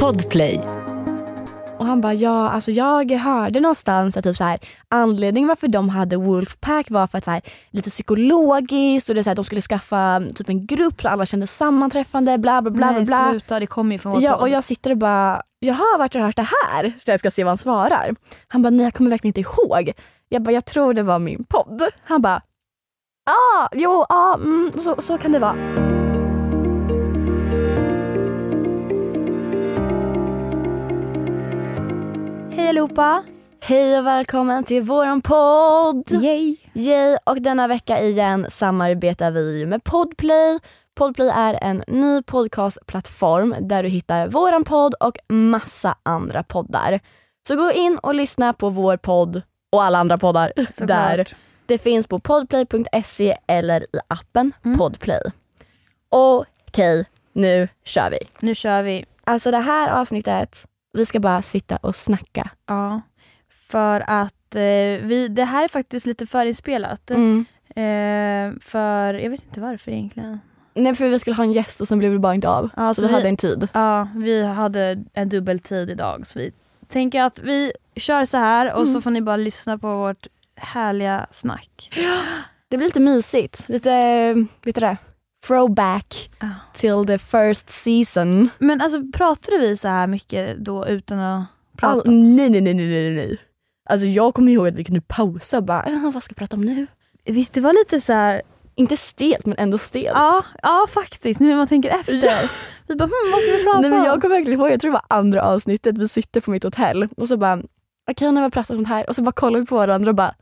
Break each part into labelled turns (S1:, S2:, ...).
S1: Podplay.
S2: Och han bara, ja alltså jag hörde någonstans att typ så här, anledningen varför de hade Wolfpack var för att så här, lite psykologiskt och det är så här, de skulle skaffa typ en grupp så alla kände sammanträffande bla bla bla. bla,
S3: Nej,
S2: bla.
S3: sluta, det kommer ju från vår
S2: Ja,
S3: podd.
S2: och jag sitter och bara, jaha vart har du hört det här? Så jag ska se vad han svarar. Han bara, nej jag kommer verkligen inte ihåg. Jag bara, jag tror det var min podd. Han bara, ah, jo, ah, mm, så, så kan det vara.
S3: Hej allihopa!
S2: Hej och välkommen till våran podd!
S3: Yay!
S2: Yay! Och denna vecka igen samarbetar vi med Podplay. Podplay är en ny podcastplattform där du hittar våran podd och massa andra poddar. Så gå in och lyssna på vår podd och alla andra poddar där.
S3: Såklart.
S2: Det finns på podplay.se eller i appen
S3: Mm.
S2: Podplay. Okej, nu kör vi.
S3: Nu kör vi.
S2: Alltså det här avsnittet, vi ska bara sitta och snacka.
S3: Ja. För att eh, vi, det här är faktiskt lite förinspelat.
S2: Mm.
S3: Eh, för jag vet inte varför egentligen.
S2: Nej, för vi skulle ha en gäst och sen blev det bara inte av.
S3: Ja,
S2: Så
S3: så
S2: vi hade
S3: vi,
S2: en tid.
S3: ja, vi hade en dubbeltid idag så vi tänker att vi kör så här och så
S2: Mm.
S3: får ni bara lyssna på vårt härliga snack.
S2: Det blir lite mysigt. Lite, eh, vet du det? Throwback
S3: Ja.
S2: till the first season.
S3: Men alltså pratade vi så här mycket då utan att prata?
S2: All- nej, nej, nej, nej, nej, nej. Alltså jag kommer ihåg att vi kunde pausa och bara, "Eh, vad ska vi prata om nu?
S3: Visst det var lite så här
S2: Inte stelt men ändå stelt.
S3: Ja, ja faktiskt, nu när man tänker efter.
S2: Ja.
S3: Vi bara, hmm, vad ska vi prata
S2: Nej, men jag
S3: om?
S2: kommer verkligen ihåg, jag tror det var andra avsnittet, vi sitter på mitt hotell och så bara, okej nu har vi pratat om det här och så bara kollar vi på varandra och bara,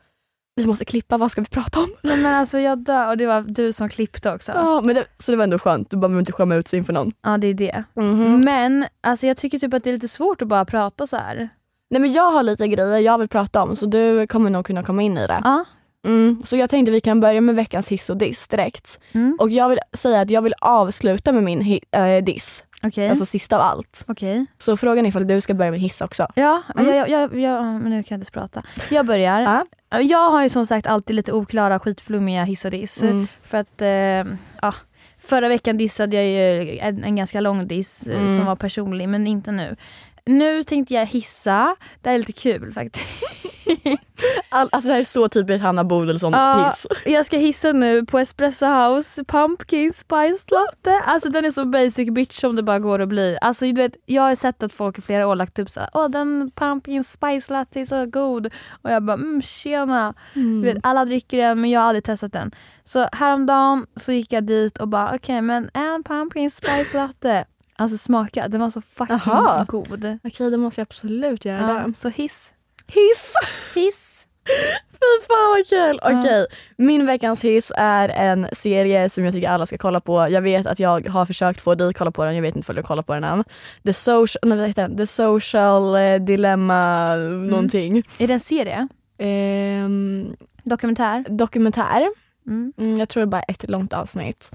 S2: vi måste klippa, vad ska vi prata om?
S3: Nej, men alltså jag dör och det var du som klippte också. Ja,
S2: Ja, men det, så det var ändå skönt, du bara behöver inte skämma ut sig inför någon.
S3: det är det.
S2: Mm.
S3: Men alltså jag tycker typ att det är lite svårt att bara prata så här.
S2: Nej men jag har lite grejer jag vill prata om så du kommer nog kunna komma in i det.
S3: Ja.
S2: Mm, så jag tänkte vi kan börja med veckans hiss och diss direkt.
S3: Mm.
S2: Och jag vill säga att jag vill avsluta med min hi- eh, diss,
S3: Okej.
S2: alltså sista av allt.
S3: Okej.
S2: Så frågan är ifall du ska börja med hiss också.
S3: Ja,
S2: Mm.
S3: jag, jag, jag, jag, men nu kan jag inte ens prata. Jag börjar.
S2: Ja.
S3: Jag har ju som sagt alltid lite oklara skitflummiga hiss och diss.
S2: Mm.
S3: För att, eh, ja, förra veckan dissade jag ju en, en ganska lång diss eh,
S2: Mm.
S3: som var personlig men inte nu. Nu tänkte jag hissa, det här är lite kul faktiskt.
S2: All, alltså det här är så typiskt Hanna Bodilsson
S3: Ja.
S2: hiss.
S3: Jag ska hissa nu på Espresso House Pumpkin Spice Latte. Alltså den är så basic bitch som det bara går att bli. Alltså du vet, jag har sett att folk i flera år lagt upp såhär, åh den Pumpkin Spice Latte är så god. Och jag bara, mm tjena. Du vet, alla dricker den men jag har aldrig testat den. Så häromdagen så gick jag dit och bara, okej men en Pumpkin Spice Latte. Alltså smaka, den var så fucking
S2: Aha.
S3: god.
S2: Okej det måste jag absolut göra.
S3: Ja, så hiss.
S2: Hiss!
S3: Hiss.
S2: Fy fan vad kul!
S3: Ja.
S2: Okej, min veckans hiss är en serie som jag tycker alla ska kolla på. Jag vet att jag har försökt få dig att kolla på den, jag vet inte om du kollar på den än. The social, nej, vad heter den? The social eh, dilemma någonting.
S3: Är det en serie?
S2: Ehm,
S3: Dokumentär?
S2: dokumentär.
S3: Mm.
S2: Mm, jag tror det är bara ett långt avsnitt.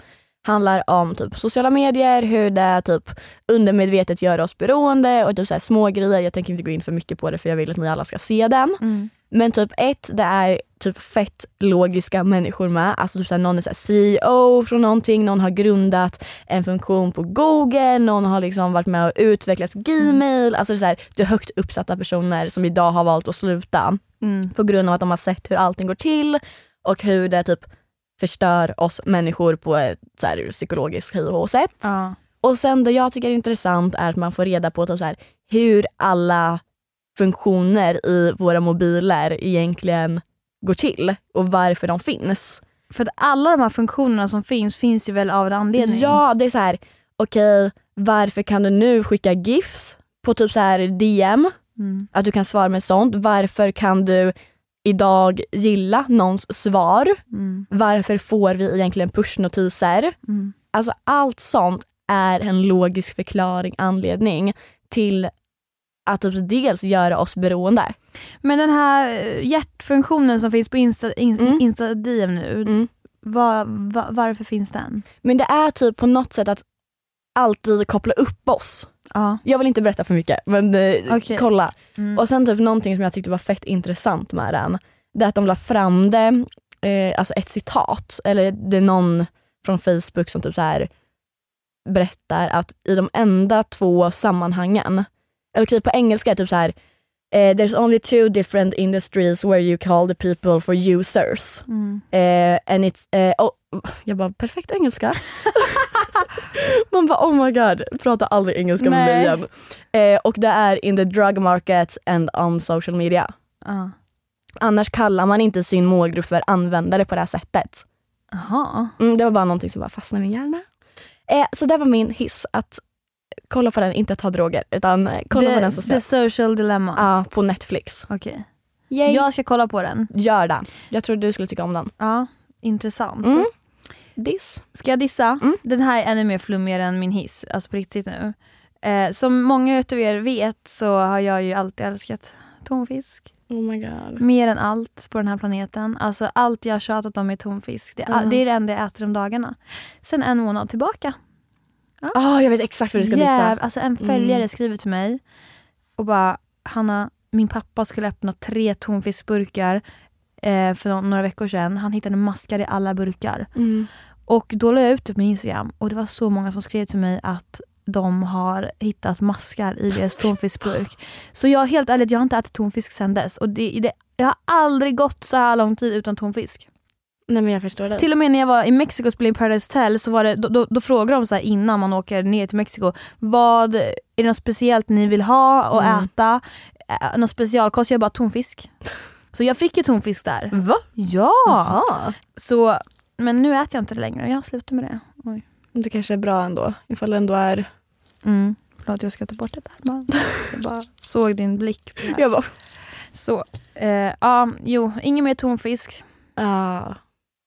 S2: Handlar om typ sociala medier, hur det typ undermedvetet gör oss beroende och typ så här små grejer. Jag tänker inte gå in för mycket på det för jag vill att ni alla ska se den.
S3: Mm.
S2: Men typ ett, det är typ fett logiska människor med. Alltså typ såhär, någon är såhär CEO från någonting, någon har grundat en funktion på Google, någon har liksom varit med och utvecklat Gmail. Alltså det är, såhär, det är högt uppsatta personer som idag har valt att sluta
S3: Mm.
S2: på grund av att de har sett hur allting går till och hur det typ förstör oss människor på ett så här psykologiskt hej och hå sätt.
S3: Ja.
S2: Och sen det jag tycker är intressant är att man får reda på typ så här, hur alla funktioner i våra mobiler egentligen går till och varför de finns.
S3: För att alla de här funktionerna som finns, finns ju väl av en anledning?
S2: Ja, det är så här, okej, varför kan du nu skicka GIFs på typ så här DM?
S3: Mm.
S2: Att du kan svara med sånt. Varför kan du idag gilla någons svar?
S3: Mm.
S2: Varför får vi egentligen pushnotiser?
S3: Mm.
S2: Alltså allt sånt är en logisk förklaring, anledning till att typ dels göra oss beroende.
S3: Men den här eh, hjärtfunktionen som finns på Insta, in,
S2: Mm.
S3: Insta-DM nu,
S2: Mm.
S3: va, va, varför finns den?
S2: Men det är typ på något sätt att alltid koppla upp oss.
S3: Ja.
S2: Jag vill inte berätta för mycket men eh,
S3: Okej.
S2: kolla.
S3: Mm.
S2: Och sen typ någonting som jag tyckte var fett intressant med den, det är att de la fram det, eh, alltså ett citat, eller det är någon från Facebook som typ så här berättar att i de enda två sammanhangen, eller typ på engelska är det typ så här eh, There's only two different industries where you call the people for users.
S3: Mm.
S2: Eh, and it's, eh, oh, jag bara, perfekt engelska. Man bara, oh my god, prata aldrig engelska med mig
S3: Nej.
S2: igen. Eh, och det är in the drug market and on social media.
S3: Ja.
S2: Annars kallar man inte sin målgrupp för användare på det här sättet.
S3: Jaha.
S2: Mm, det var bara någonting som bara fastnade i min hjärna. Eh, så det var min hiss, att kolla på den, inte ta droger, utan eh, kolla på den
S3: The, the
S2: socialt.
S3: social dilemma.
S2: Ja, på Netflix.
S3: Okej.
S2: Yay.
S3: Jag ska kolla på den.
S2: Gör det. Jag tror du skulle tycka om den.
S3: Ja, intressant.
S2: Mm. Diss.
S3: Ska jag dissa?
S2: Mm.
S3: Den här är ännu mer flummigare än min hiss, alltså på riktigt nu. Eh, som många utav er vet så har jag ju alltid älskat tonfisk.
S2: Oh my god.
S3: Mer än allt på den här planeten. Alltså allt jag har tjatat om är tonfisk. Det är,
S2: Mm.
S3: det, är det enda jag äter om dagarna. Sen en månad tillbaka.
S2: Ah, jag vet exakt vad du ska
S3: Jäv,
S2: dissa. Mm.
S3: alltså en följare skriver till mig och bara Hanna, min pappa skulle öppna tre tonfiskburkar eh, för no- några veckor sedan. Han hittade maskar i alla burkar.
S2: Mm.
S3: Och då la jag ut det på min Instagram och det var så många som skrev till mig att de har hittat maskar i deras tonfiskburk. Så jag helt ärligt, jag har inte ätit tonfisk sedan dess. Och det, det, jag har aldrig gått så här lång tid utan tonfisk.
S2: Nej men jag förstår det.
S3: Till och med när jag var i Mexiko och spelade in Paradise Hotel så var det, då, då, då frågade de så här innan man åker ner till Mexiko, vad är det något speciellt ni vill ha och
S2: Mm.
S3: äta? Ä- Någon specialkost? Jag bara tonfisk. Så jag fick ju tonfisk där.
S2: Va?
S3: Ja!
S2: Ja.
S3: Så, men nu äter jag inte det längre, jag slutar med det.
S2: Det kanske är bra ändå, ifall det ändå är...
S3: Mm. Förlåt jag ska ta bort det där. bara. Jag bara såg din blick. på det här.
S2: Jag bara...
S3: Så, eh, ja, jo, ingen mer tonfisk.
S2: Ah.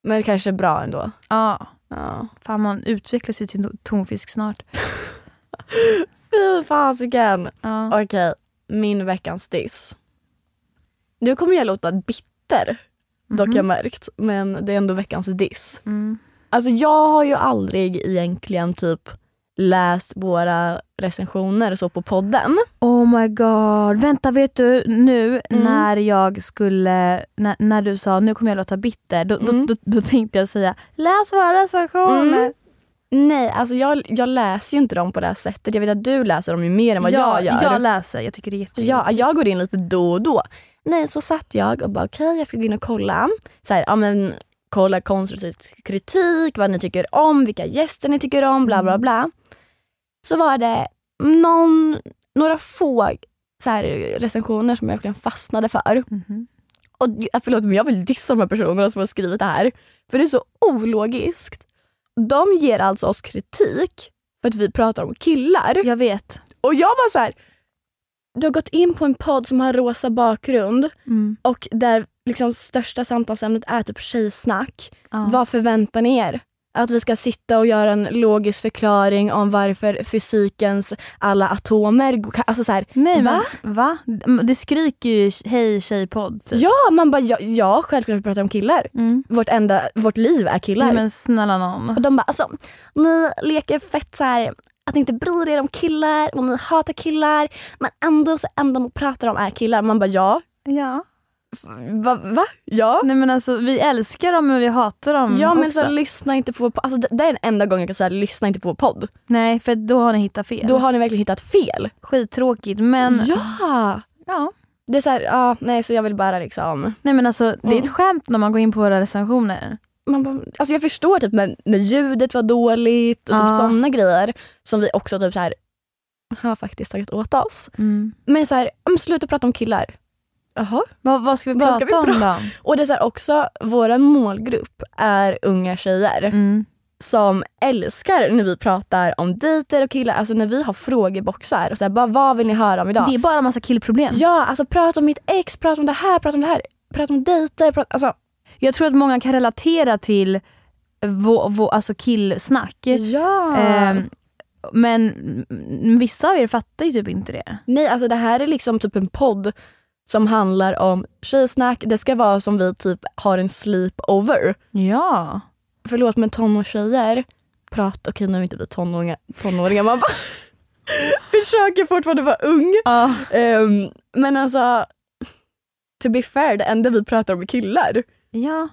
S2: Men det kanske är bra ändå.
S3: Ja,
S2: Ah.
S3: fan man utvecklar sig till tonfisk snart.
S2: Fy fasiken.
S3: Ja.
S2: Okej, min veckans diss. Nu kommer jag låta bitter, dock jag märkt. Men det är ändå veckans diss.
S3: Mhm. Mm.
S2: Alltså jag har ju aldrig egentligen typ läst våra recensioner och så på podden.
S3: Oh my god. Vänta, vet du nu
S2: Mm.
S3: när jag skulle, när, när du sa nu kommer jag låta bitter, då,
S2: Mm.
S3: då, då, då tänkte jag säga läs våra recensioner.
S2: Mm. Nej, alltså jag, jag läser ju inte dem på det här sättet. Jag vet att du läser dem ju mer än vad jag gör.
S3: jag läser, jag tycker det är jätteroligt.
S2: Ja, jag går in lite då och då. Nej, så satt jag och bara okej, jag ska gå in och kolla. Så här, ja, men, kolla konstruktiv kritik, vad ni tycker om, vilka gäster ni tycker om, bla bla bla. Så var det någon, några få så här, recensioner som jag verkligen fastnade för.
S3: Mhm.
S2: Och jag- förlåt men jag vill dissa de här personerna som har skrivit det här. För det är så ologiskt. De ger alltså oss kritik för att vi pratar om killar.
S3: Jag vet.
S2: Och jag var så här. Du har gått in på en podd som har rosa bakgrund
S3: Mm.
S2: och där liksom största samtalsämnet är typ tjejsnack.
S3: Ja.
S2: Vad förväntar ni er? Att vi ska sitta och göra en logisk förklaring om varför fysikens alla atomer... går- Alltså så här,
S3: Nej,
S2: Va?
S3: Men, va? Mm, Det skriker ju hej tjejpodd. Typ.
S2: ja, man bara, ja, ja, självklart pratar om killar.
S3: Mm.
S2: Vårt, enda, vårt liv är killar.
S3: Nej, men snälla någon.
S2: Och de bara alltså, ni leker fett så här att ni inte bryr er om killar och ni hatar killar men ändå så enda ni pratar om är killar. Man bara ja,
S3: Ja.
S2: Va? va? Ja.
S3: Nej, men alltså, vi älskar dem men vi hatar dem
S2: ja men
S3: Mm, också.
S2: så lyssna inte på alltså, det, det är den enda gången jag kan säga lyssna inte på podd.
S3: Nej för då har ni hittat fel.
S2: Då har ni verkligen hittat fel.
S3: Skittråkigt men
S2: Ja!
S3: ja.
S2: Det är så här, ja, nej så jag vill bara liksom.
S3: Nej men alltså det är ett skämt när man går in på våra recensioner.
S2: Man bara, alltså jag förstår typ när, när ljudet var dåligt och typ
S3: Ja.
S2: sådana grejer som vi också typ så här har faktiskt tagit åt oss. Men så här, ja, men sluta prata om killar. Jaha.
S3: Vad, vad ska vi
S2: Vad
S3: prata
S2: ska vi
S3: om då?
S2: Och det är så här också, vår målgrupp är unga tjejer.
S3: Mm.
S2: som älskar när vi pratar om dejter och killar, alltså när vi har frågeboxar och så här, bara vad vill ni höra om idag?
S3: Det är bara massa killproblem.
S2: Ja, alltså prata om mitt ex, prata om det här, prata om det här, prata om dejter, prata, alltså
S3: Jag tror att många kan relatera till vå, vå, alltså killsnack.
S2: ja.
S3: Ehm, men mm, vissa av er fattar ju typ inte det.
S2: Nej, alltså det här är liksom typ en podd som handlar om tjejsnack, det ska vara som vi typ har en sleepover.
S3: Ja.
S2: Förlåt men tonårstjejer, prata, okej nu är inte vi tonåringar, tonåringar man bara försöker fortfarande vara ung. Ehm, men alltså, to be fair, det enda vi pratar om är killar.
S3: Ja.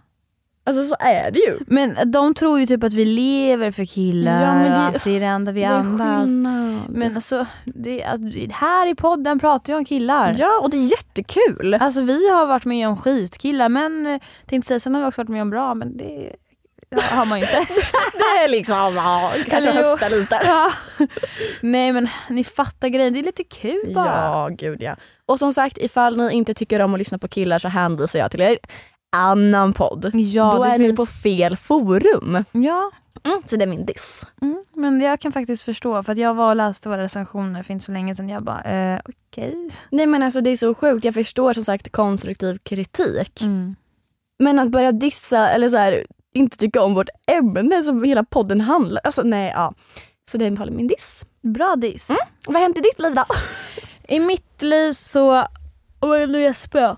S2: Alltså så är det ju.
S3: Men de tror ju typ att vi lever för killar
S2: Ja, men det-
S3: och att det är det enda vi
S2: det är
S3: andas.
S2: skillnad.
S3: Men alltså, det, alltså, här i podden pratar jag om killar.
S2: Ja och det är jättekul.
S3: Alltså vi har varit med om skit, killar men eh, tänkte säga, sen har vi också varit med om bra men det har man ju inte.
S2: Det är liksom, ja, kanske
S3: Eller jo.
S2: höfta lite.
S3: Ja. Nej men ni fattar grejen, det är lite kul bara.
S2: Ja, gud ja. Och som sagt, ifall ni inte tycker om att lyssna på killar så hänvisar jag till er annan podd.
S3: Ja,
S2: Då
S3: det
S2: är ni
S3: finns-
S2: på fel forum.
S3: Ja,
S2: Mm, så det är min diss.
S3: mm, men jag kan faktiskt förstå för att jag var och läste våra recensioner för inte så länge sedan. Jag bara, eh, okej.
S2: Nej men alltså det är så sjukt, jag förstår som sagt konstruktiv kritik. Men att börja dissa eller så här, inte tycka om vårt ämne som hela podden handlar alltså nej ja. Så det är min diss.
S3: Bra diss.
S2: Vad har hänt i ditt liv då?
S3: I mitt liv så... Oj, nu gäspar jag.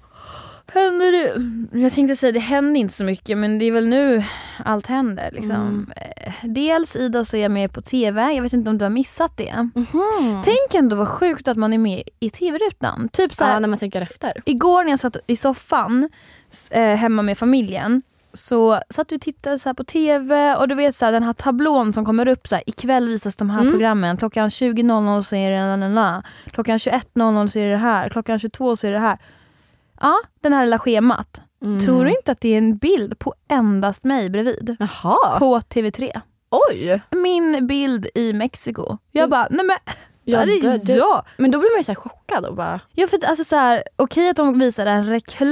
S3: Händer det... Jag tänkte säga det händer inte så mycket men det är väl nu allt händer. Liksom.
S2: Mm.
S3: Eh, Dels Ida så är jag med på TV, jag vet inte om du har missat det.
S2: Mm. Hmm.
S3: Tänk ändå vad sjukt att man är med i TV-rutan. Typ så här,
S2: Ja, när man tänker efter.
S3: Igår när jag satt i soffan s- eh, hemma med familjen så satt vi och tittade så här på TV och du vet så här, den här tablån som kommer upp så här, ikväll visas de här
S2: Mm.
S3: programmen, klockan 20.00 så är det na, na, na. klockan 21.00 så är det det här, klockan 22 så är det här. Ja, den här lilla schemat.
S2: Mm.
S3: Tror du inte att det är en bild på endast mig bredvid?
S2: Jaha,
S3: På TV3.
S2: oj.
S3: Min bild i Mexiko.
S2: Mm.
S3: Jag bara, nej men
S2: Ja,
S3: där
S2: dö-
S3: är
S2: dö-
S3: jag!
S2: Men då blir man ju så här chockad och bara...
S3: Ja för att, alltså så här, okej att de visade en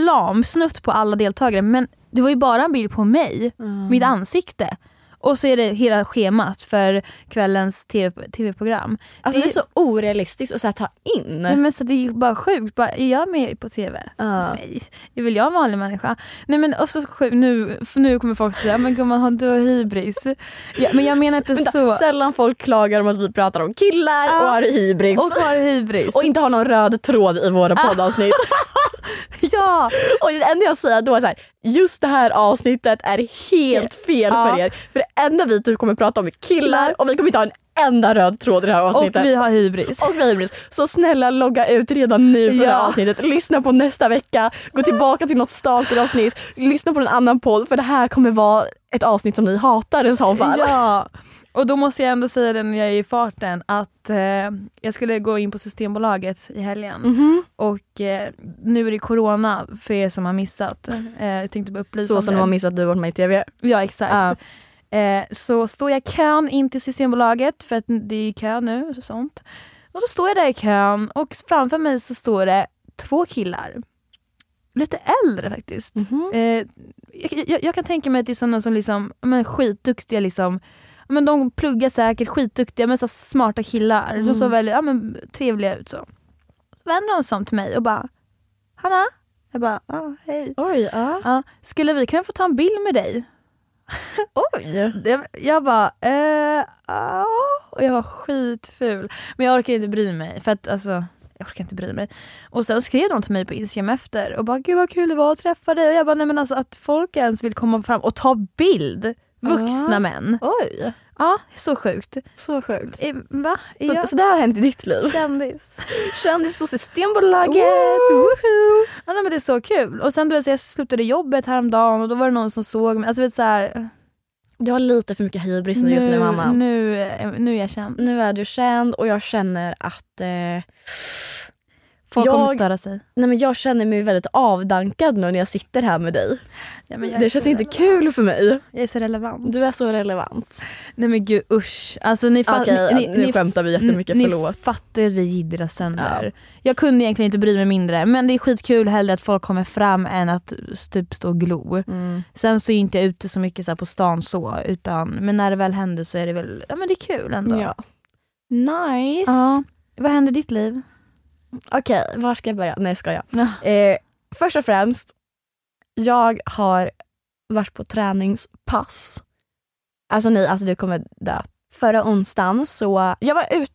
S3: reklamsnutt på alla deltagare men det var ju bara en bild på mig,
S2: Mm.
S3: mitt ansikte. Och så är det hela schemat för kvällens TV tv-program.
S2: Alltså det,
S3: det-
S2: är så orealistiskt att så här, ta in.
S3: Nej, men så det är ju bara sjukt, bara, är jag med på TV?
S2: Ja.
S3: Nej, är väl jag en vanlig människa? Nej men och så sjukt, nu, för nu kommer folk säga men gumman har du hybris? Ja, men jag menar inte
S2: Vänta,
S3: så.
S2: Sällan folk klagar om att vi pratar om killar
S3: Ja.
S2: och har hybris.
S3: Och
S2: Och, Ah.
S3: har hybris.
S2: inte har någon röd tråd i våra poddavsnitt.
S3: ja.
S2: och det enda jag säger då är så här, just det här avsnittet är helt fel
S3: Ja.
S2: för er. För det enda vi typ kommer prata om är killar och vi kommer inte ha en enda röd tråd i det här
S3: Och
S2: avsnittet.
S3: vi har hybris.
S2: och vi har hybris. Så snälla logga ut redan nu för
S3: Ja.
S2: det här avsnittet. Lyssna på nästa vecka, gå tillbaka till något stalker avsnitt, lyssna på en annan podd för det här kommer vara ett avsnitt som ni hatar i så fall.
S3: Ja, och då måste jag ändå säga det när jag är i farten att eh, jag skulle gå in på Systembolaget i helgen
S2: Mhm.
S3: och eh, nu är det corona för er som har missat. Eh, jag tänkte bara upplysa
S2: Mm. Så
S3: om
S2: som
S3: det.
S2: de har missat du varit med i TV.
S3: Ja exakt. Eh, så står jag i kön in till Systembolaget för att det är kö nu och sånt. Och då står jag där i kön och framför mig så står det två killar. Lite äldre faktiskt.
S2: Mhm.
S3: Eh, jag, jag, jag kan tänka mig att det är sådana som liksom, ja, men skitduktiga liksom Ja, men de pluggar säkert, skitduktiga men så här smarta killar. De såg väldigt ja, men, trevliga ut. Så. så vänder de sig om till mig och bara “Hanna?” Jag bara ah, “Hej”.
S2: Oj, ja.
S3: Ja, “Skulle vi kunna få ta en bild med dig?”
S2: Oj.
S3: Det- Jag bara, eh, ja. Och jag var skitful. Men jag orkar inte bry mig. För att alltså, jag orkar inte bry mig. Och sen skrev de till mig på Instagram efter och bara, gud vad kul det var att träffa dig. Och jag bara, nej men alltså att folk ens vill komma fram och ta bild. Vuxna
S2: Ja.
S3: män.
S2: Oj.
S3: Ja, så sjukt.
S2: Så sjukt.
S3: Eh, Va? Är
S2: Så,
S3: jag
S2: så det har hänt i ditt liv?
S3: kändis?
S2: Kändis på Systembolaget!
S3: Woo!
S2: Woho!
S3: Ja, nej, men det är så kul. Och sen du vet, så jag slutade jobbet häromdagen och då var det någon som såg mig. Alltså vet så här,
S2: Du har lite för mycket hybris nu, just nu Hanna. Nu.
S3: nu, eh, nu är jag känd.
S2: är du känd och jag känner att... Eh, nej
S3: Folk
S2: Jag-
S3: kommer störa sig.
S2: men jag känner mig väldigt avdankad nu när jag sitter här med dig.
S3: Ja, men jag är
S2: Det känns
S3: så
S2: inte
S3: relevant.
S2: kul för mig.
S3: Jag är så relevant.
S2: Du är så relevant.
S3: Nej men gud usch. Alltså, ni, fa-
S2: Okej,
S3: ni,
S2: nu
S3: ni, ni,
S2: skämtar vi jättemycket.
S3: ni
S2: Förlåt.
S3: fattar ju att vi jiddrar sönder. Jag kunde egentligen inte bry mig mindre men det är skitkul hellre att folk kommer fram än att typ stå och glo.
S2: Mm.
S3: Sen så är inte jag ute så mycket så här, på stan så utan men när det väl händer så är det väl, ja men det är kul ändå.
S2: Ja. Nice.
S3: Ja. Vad händer i ditt liv?
S2: Okej, var ska jag börja? Nej, ska jag.
S3: Ja.
S2: Eh, först och främst, jag har varit på träningspass. Alltså nej, alltså du kommer dö. Förra onsdagen så, jag var ut,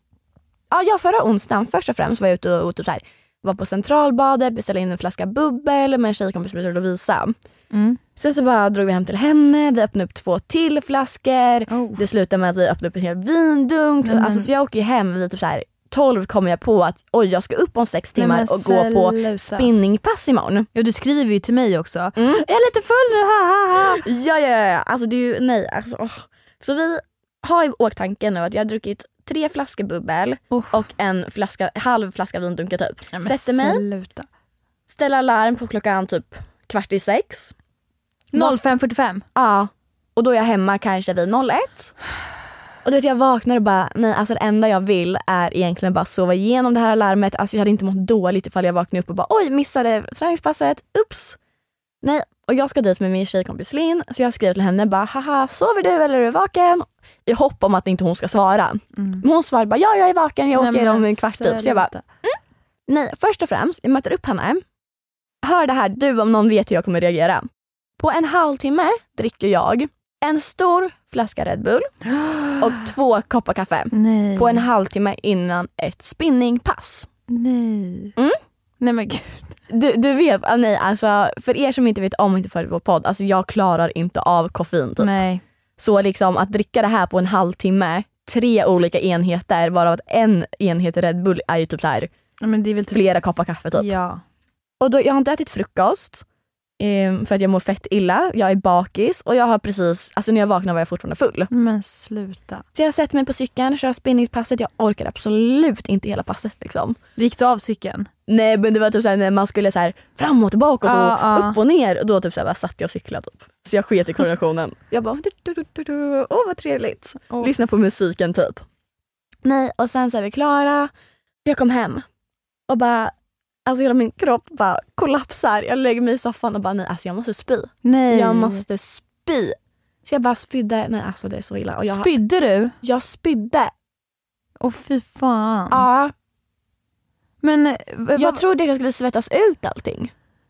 S2: ja, ja förra onsdagen först och främst var jag ute och, och typ så här, var på Centralbadet, beställde in en flaska bubbel med en tjejkompis som heter Lovisa.
S3: Mm.
S2: Sen så bara drog vi hem till henne, vi öppnade upp två Oh. till flaskor. Det slutade med att vi öppnade upp en hel vindunk.
S3: Nej, men-
S2: Alltså, så jag åker ju hem vid typ så här 12 kom jag på att oj jag ska upp om sex
S3: Nej,
S2: timmar
S3: men
S2: och gå på
S3: sluta.
S2: spinningpass imorgon.
S3: Ja, du skriver ju till mig också.
S2: Mm.
S3: Jag är lite full nu, ha ha ha.
S2: Ja, ja, ja, ja. Alltså det är ju, nej alltså. åh. Så vi har i åtanke nu att jag har druckit tre flaskor bubbel
S3: Uff.
S2: och en flaska, halv flaska vindunke typ.
S3: Nej, men
S2: Sätter mig,
S3: Sluta.
S2: ställer larm på klockan typ kvart i sex.
S3: 05.45.
S2: Ja. Och då är jag hemma kanske vid 01. Och du vet jag vaknar och bara, nej alltså det enda jag vill är egentligen bara sova igenom det här larmet. Alltså jag hade inte mått dåligt ifall jag vaknade upp och bara oj missade träningspasset, ups. Nej, och jag ska dit med min tjejkompis Linn så jag skrev till henne bara haha sover du eller är du vaken? I hopp om att inte hon ska svara.
S3: Mm.
S2: Men hon svarade bara ja jag är vaken, jag åker om
S3: alltså,
S2: en kvart typ. Så jag bara Nej, först och främst, jag möter upp henne. Hör det här, du om någon vet hur jag kommer reagera. På en halvtimme dricker jag en stor flaska Red Bull och två koppar kaffe.
S3: Ah. Nej.
S2: På en halvtimme innan ett spinningpass.
S3: Nej.
S2: Mm.
S3: Nej men gud.
S2: Du, du vet, ah, nej alltså för er som inte vet om och inte följer vår podd, alltså jag klarar inte av koffein. Typ.
S3: Nej.
S2: Så liksom att dricka det här på en halvtimme, tre olika enheter varav att en enhet Red Bull är ju typ så här,
S3: Ja, Men det är väl typ...
S2: flera koppar kaffe. Typ.
S3: Ja.
S2: Och då, jag har inte ätit frukost eh, för att jag mår fett illa. Jag är bakis och jag har precis, alltså när jag vaknade var jag fortfarande full.
S3: Men sluta.
S2: Så jag sätter mig på cykeln, kör spinningpasset. Jag orkar absolut inte hela passet liksom.
S3: Gick du av cykeln?
S2: Nej men det var typ såhär när man skulle såhär framåt och bakåt och
S3: Ja, ja.
S2: upp och ner. Och då typ såhär bara satt jag och cyklade upp. Så jag sket i koordinationen. jag bara du, du, du, du, du. åh vad trevligt.
S3: Åh.
S2: Lyssna på musiken typ. Nej och sen så är vi klara. Jag kom hem och bara Alltså hela min kropp bara kollapsar. Jag lägger mig i soffan och bara nej alltså jag måste spy.
S3: Nej.
S2: Jag måste spy. Så jag bara spydde. Nej alltså det är så illa. Och jag,
S3: Spydde du?
S2: jag spydde.
S3: Åh fy fan.
S2: Ja,
S3: Men, eh, vad-
S2: jag trodde att jag skulle svettas ut allting. Mm,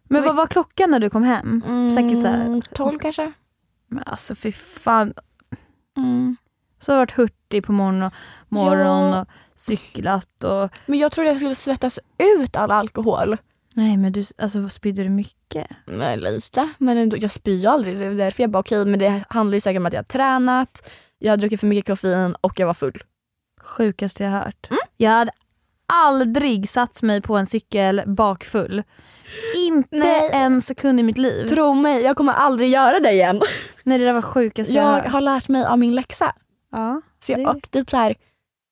S3: men vad var klockan när du kom hem? Säkert så här.
S2: Tolv kanske.
S3: Men alltså fy fan.
S2: Mm.
S3: Så har jag varit hurtig på morgon och, morgon
S2: Ja.
S3: och cyklat och...
S2: Men jag trodde jag skulle svettas ut all alkohol.
S3: Nej men du, alltså spydde du mycket?
S2: Nej, lite. Men ändå, jag spyr aldrig. Det är därför jag bara okej men det handlar ju säkert om att jag har tränat, jag har druckit för mycket koffein och jag var full.
S3: Sjukaste jag hört.
S2: Mm.
S3: Jag hade aldrig satt mig på en cykel bakfull. Inte
S2: Nej.
S3: en sekund i mitt liv.
S2: Tro mig, jag kommer aldrig göra det igen.
S3: Nej det där var sjukaste jag,
S2: Jag
S3: hört.
S2: har lärt mig av min läxa.
S3: Ja.
S2: Så
S3: Det-
S2: jag, och typ så här,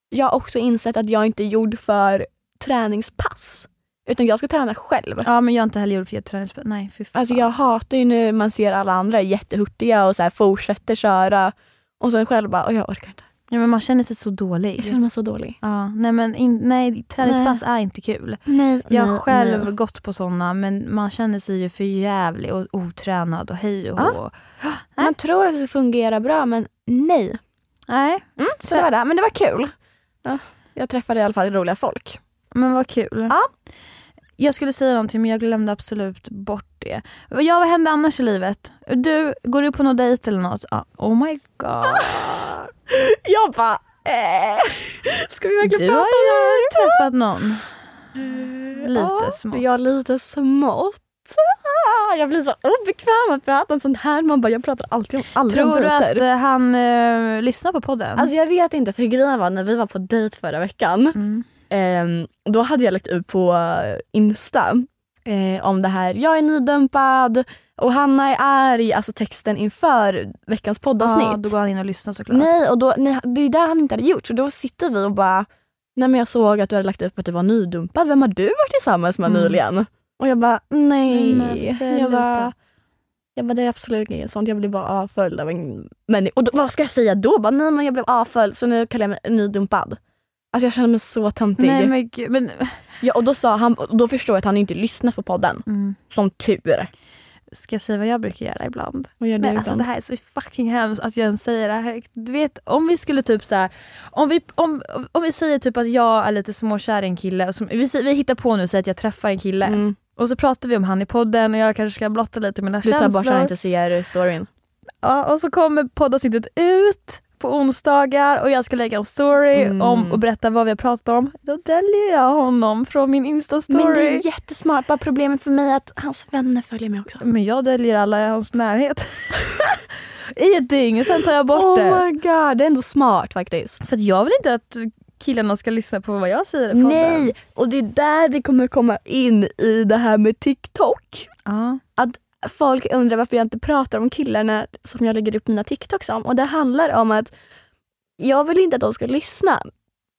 S2: jag har också insett att jag inte är gjord för träningspass. Utan jag ska träna själv.
S3: ja men jag har inte heller gjort för jag träningsspö. Nej fy fan.
S2: Alltså jag hatar ju när man ser alla andra jättehurtiga och så här fortsätter köra och sen själv bara, "Åh, jag orkar inte.
S3: ja, men man känner sig så
S2: Jag
S3: dålig.
S2: känner mig så dålig.
S3: Ja, nej men in, nej, träningspass är inte kul.
S2: Nej,
S3: Jag har själv gått på sådana men man känner sig ju för jävlig och otränad och hej och
S2: Ja.
S3: hå.
S2: Man tror att det ska fungera bra men nej.
S3: Nej
S2: Så det var det. Men det var kul. Ja, jag träffade i alla fall roliga folk.
S3: men vad kul.
S2: Ja.
S3: Jag skulle säga någonting men jag glömde absolut bort det. Ja, vad hände annars i livet? Du, går du på någon dejt eller något? Ja. Oh my god.
S2: Jag bara, eh, ska vi verkligen
S3: Du har
S2: prata om det här?
S3: Träffat någon? Lite
S2: ja,
S3: smått.
S2: Jag är lite smått. Ah, Jag blir så obekväm att prata om sånt här. Man bara, jag pratar alltid om alla
S3: Tror du
S2: dejter.
S3: att eh, han eh, lyssnar på podden?
S2: Alltså jag vet inte, för grejen var när vi var på dejt förra veckan.
S3: mm.
S2: ehm, då hade jag lagt ut på Insta eh, om det här, jag är nydömpad och Hanna är arg. Alltså texten inför veckans poddavsnitt.
S3: Ja, Ah, då går han in och lyssnar såklart.
S2: Nej, och då, nej, det är det han inte hade gjort. Så då sitter vi och bara, nej men jag såg att du hade lagt upp att du var nydumpad. Vem har du varit tillsammans med
S3: Mm.
S2: nyligen? Och jag bara, nej.
S3: Men sluta.
S2: jag, bara, jag bara, det är absolut inget sånt. Jag blev bara avföljd av en människa. Och då, vad ska jag säga då? Bara, nej men jag blev avföljd så nu kallar jag mig nydumpad. Alltså jag känner mig så töntig.
S3: Nej men gud. Men,
S2: ja, och då, sa han, och då förstår jag att han inte lyssnat på podden.
S3: mm.
S2: Som tur.
S3: Ska jag säga vad jag brukar göra ibland?
S2: Vad gör
S3: Nej,
S2: du
S3: alltså
S2: ibland?
S3: det här är så fucking hemskt att jag ens säger det här högt. Du vet om vi skulle typ så här, om vi, om, om- om vi säger typ att jag är lite småkär i en kille, och som, vi, säger- vi hittar på nu säger att jag träffar en kille
S2: Mm.
S3: och så pratar vi om han i podden och jag kanske ska blotta lite mina
S2: Du tar
S3: känslor.
S2: bara så han inte ser storyn.
S3: ja, och så kommer poddavsnittet ut på onsdagar och jag ska lägga en story
S2: Mm.
S3: om och berätta vad vi har pratat om. Då döljer jag honom från min
S2: Men det
S3: instastory.
S2: är jättesmart. Bara problemet för mig är att hans vänner följer med också.
S3: Men jag döljer alla i hans närhet. I ett dygn, sen tar jag bort det.
S2: my Oh god, det är ändå smart faktiskt.
S3: För att jag vill inte att killarna ska lyssna på vad jag säger i podden.
S2: Nej! Och det är där vi kommer komma in i det här med TikTok.
S3: Ja.
S2: folk undrar varför jag inte pratar om killarna som jag lägger upp mina TikToks om. Och det handlar om att jag vill inte att de ska lyssna.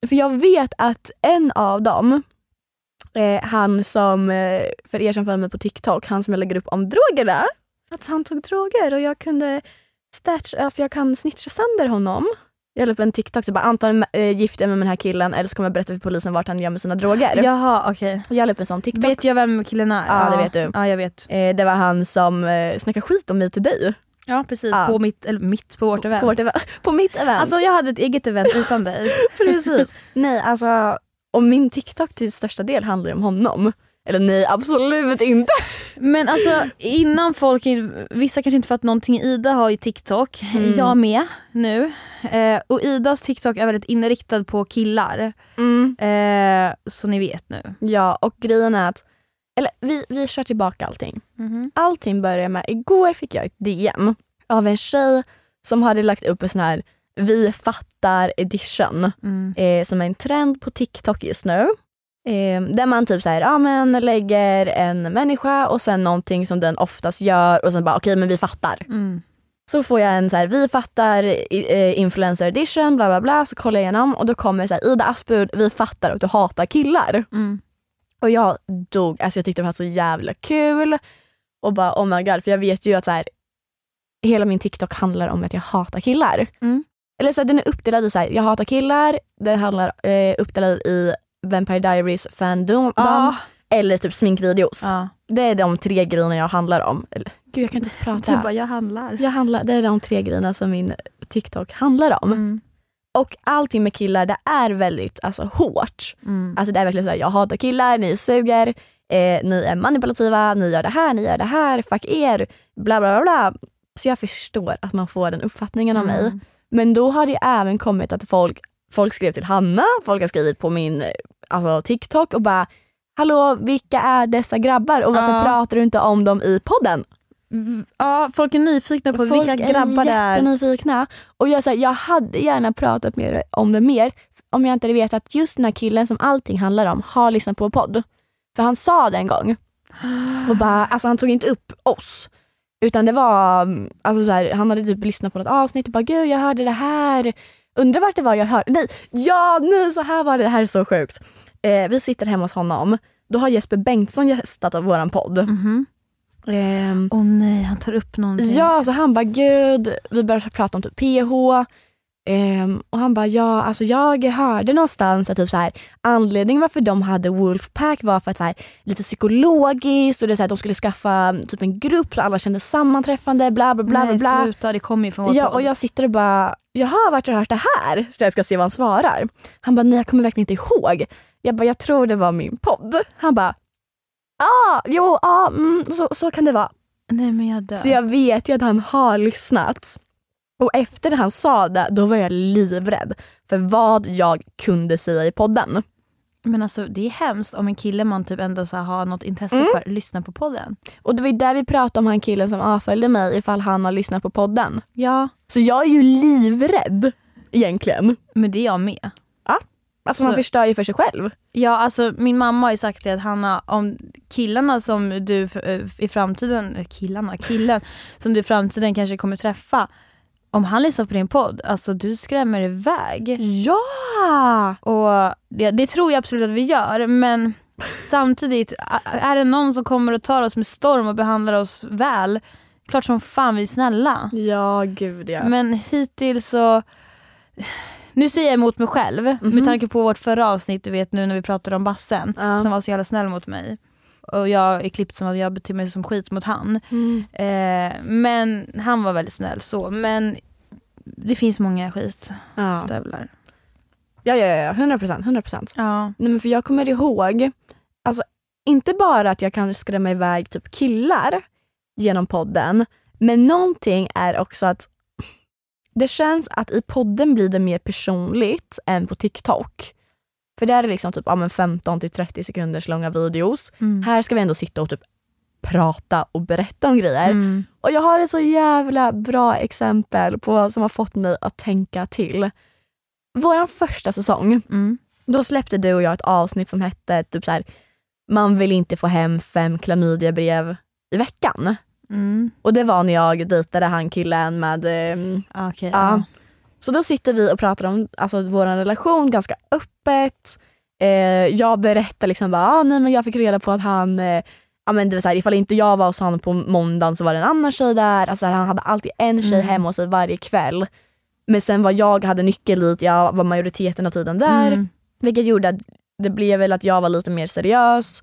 S2: För jag vet att en av dem, eh, han som, eh, för er som följer mig på TikTok, han som jag lägger upp om droger där. Att han tog droger och jag kunde stats- alltså jag kan snitcha sönder honom. Jag la upp en TikTok, typ bara antingen eh, gifter jag mig med den här killen eller så kommer jag berätta för polisen vart han gömmer sina droger.
S3: Jaha okej.
S2: Jag la upp en sån TikTok.
S3: Vet jag vem killen är?
S2: Ja, det vet du.
S3: Ja jag vet.
S2: Eh, det var han som eh, snackade skit om mig till dig.
S3: Ja precis,
S2: Ja.
S3: på mitt, eller mitt, på vårt event.
S2: På, vårt event. på mitt event.
S3: Alltså jag hade ett eget event utan dig.
S2: precis. Nej, alltså och min TikTok till största del handlar ju om honom. Eller nej, absolut inte.
S3: Men alltså innan folk, vissa kanske inte fattat någonting, Ida har ju TikTok,
S2: Mm.
S3: jag med nu. Eh, och Idas TikTok är väldigt inriktad på killar. Eh, så ni vet nu.
S2: Ja, och grejen är att eller vi, vi kör tillbaka allting.
S3: Mm-hmm.
S2: Allting börjar med, igår fick jag ett DM av en tjej som hade lagt upp en sån här vi fattar edition.
S3: Mm.
S2: eh, som är en trend på TikTok just nu. Eh, där man typ så här, ja, men lägger en människa och sen någonting som den oftast gör och sen bara okej men vi fattar.
S3: Mm.
S2: Så får jag en så här, vi fattar i- eh, influencer edition bla bla bla så kollar jag igenom och då kommer så här, Ida Aspud vi fattar att du hatar killar.
S3: Mm.
S2: Och jag dog, alltså jag tyckte det var så jävla kul och bara oh my god för jag vet ju att så här, hela min TikTok handlar om att jag hatar killar.
S3: Mm.
S2: Eller så här, den är uppdelad i så här, jag hatar killar, den handlar eh, uppdelad i Vampire Diaries fandom
S3: Ja.
S2: eller typ sminkvideos.
S3: Ja.
S2: Det är de tre grejerna jag handlar om. Eller, gud jag kan inte ens prata.
S3: Du typ bara, jag handlar.
S2: Jag handlar, det är de tre grejerna som min TikTok handlar om.
S3: Mm.
S2: Och allting med killar det är väldigt alltså, hårt.
S3: Mm.
S2: Alltså det är verkligen så här, jag hatar killar, ni suger, eh, ni är manipulativa, ni gör det här, ni gör det här, fuck er, bla bla bla. bla. Så jag förstår att man får den uppfattningen av mig.
S3: Mm.
S2: Men då har det även kommit att folk, folk skrev till Hanna, folk har skrivit på min eh, alltså, TikTok och bara Hallå, vilka är dessa grabbar och varför
S3: Ja.
S2: pratar du inte om dem i podden?
S3: V- Ja, folk är nyfikna på vilka grabbar det
S2: är
S3: är.
S2: jättenyfikna. Och jag, så här, jag hade gärna pratat mer om det mer om jag inte hade vetat att just den här killen som allting handlar om har lyssnat på vår podd. För han sa det en gång. Och bara, alltså han tog inte upp oss. Utan det var, mm, alltså så här, han hade typ lyssnat på något avsnitt och bara gud jag hörde det här. Undrar vart det var jag hörde. Nej, ja nej så här var det, det här är så sjukt. Eh, vi sitter hemma hos honom. Då har Jesper Bengtsson gästat av våran podd.
S3: Mhm.
S2: Ehm,
S3: Åh nej, han tar upp någonting.
S2: Ja, så han bara gud, vi började prata om typ PH. Ehm, och han bara ja, alltså jag hörde någonstans att typ så här, anledningen varför de hade Wolfpack var för att så här, lite psykologiskt och det är så här, de skulle skaffa typ en grupp så alla kände sammanträffande bla bla bla.
S3: nej,
S2: bla, bla.
S3: sluta, det kommer ju från vår
S2: Ja,
S3: podd.
S2: och jag sitter och bara, jaha vart har du hört det här? Så jag ska se vad han svarar. Han bara, nej jag kommer verkligen inte ihåg. Jag bara, jag tror det var min podd. Han bara, ah, jo, ah, mm, så, så kan det vara.
S3: Nej men jag dör.
S2: Så jag vet ju att han har lyssnat. Och efter det han sa det, då var jag livrädd för vad jag kunde säga i podden.
S3: Men alltså det är hemskt om en kille man typ ändå så här har något intresse för lyssnar på podden.
S2: Och det var ju där vi pratade om han killen som avföljde mig ifall han har lyssnat på podden.
S3: Ja.
S2: Så jag är ju livrädd egentligen.
S3: Men det är jag med.
S2: Alltså man
S3: Så-
S2: förstör ju för sig själv.
S3: Ja alltså min mamma har ju sagt det att Hanna, om killarna som du f- eh, i framtiden, killarna, killen som du i framtiden kanske kommer träffa. Om han lyssnar på din podd, alltså du skrämmer iväg.
S2: Ja!
S3: Och det, det tror jag absolut att vi gör men samtidigt, a- är det någon som kommer och tar oss med storm och behandlar oss väl, klart som fan vi är snälla.
S2: Ja, gud ja.
S3: Men hittills så... Nu säger jag emot mig själv med tanke på vårt förra avsnitt du vet nu när vi pratade om bassen
S2: Mhm. Ja.
S3: som var så jävla snäll mot mig. Och jag är klippt som att jag beter mig som skit mot han.
S2: Mm.
S3: Eh, men han var väldigt snäll så men det finns många skitstövlar.
S2: Ja. ja, ja, ja. 100 procent. 100 procent.
S3: Ja.
S2: Nej, men för jag kommer ihåg, alltså, inte bara att jag kan skrämma iväg typ killar genom podden, men någonting är också att det känns att i podden blir det mer personligt än på TikTok. För där är det liksom typ, ja, men 15 till 30 sekunders långa videos.
S3: Mm.
S2: Här ska vi ändå sitta och typ prata och berätta om grejer.
S3: Mm.
S2: Och jag har ett så jävla bra exempel på vad som har fått mig att tänka till. vår första säsong,
S3: Mm.
S2: då släppte du och jag ett avsnitt som hette typ så här, man vill inte få hem fem klamydiabrev i veckan.
S3: Mm.
S2: Och det var när jag dejtade han killen med ehm,
S3: Ah, Okej.
S2: Ja. Så då sitter vi och pratar om alltså, vår relation ganska öppet. Eh, jag berättar liksom bara, ah, nej, men jag fick reda på att han, eh, ja, men det var så här, ifall inte jag var hos honom på måndagen så var det en annan tjej där. Alltså, så här, han hade alltid en tjej
S3: Mm.
S2: hemma hos sig varje kväll. Men sen var jag, hade nyckel dit, jag var majoriteten av tiden där.
S3: Mm.
S2: Vilket gjorde att det blev väl att jag var lite mer seriös.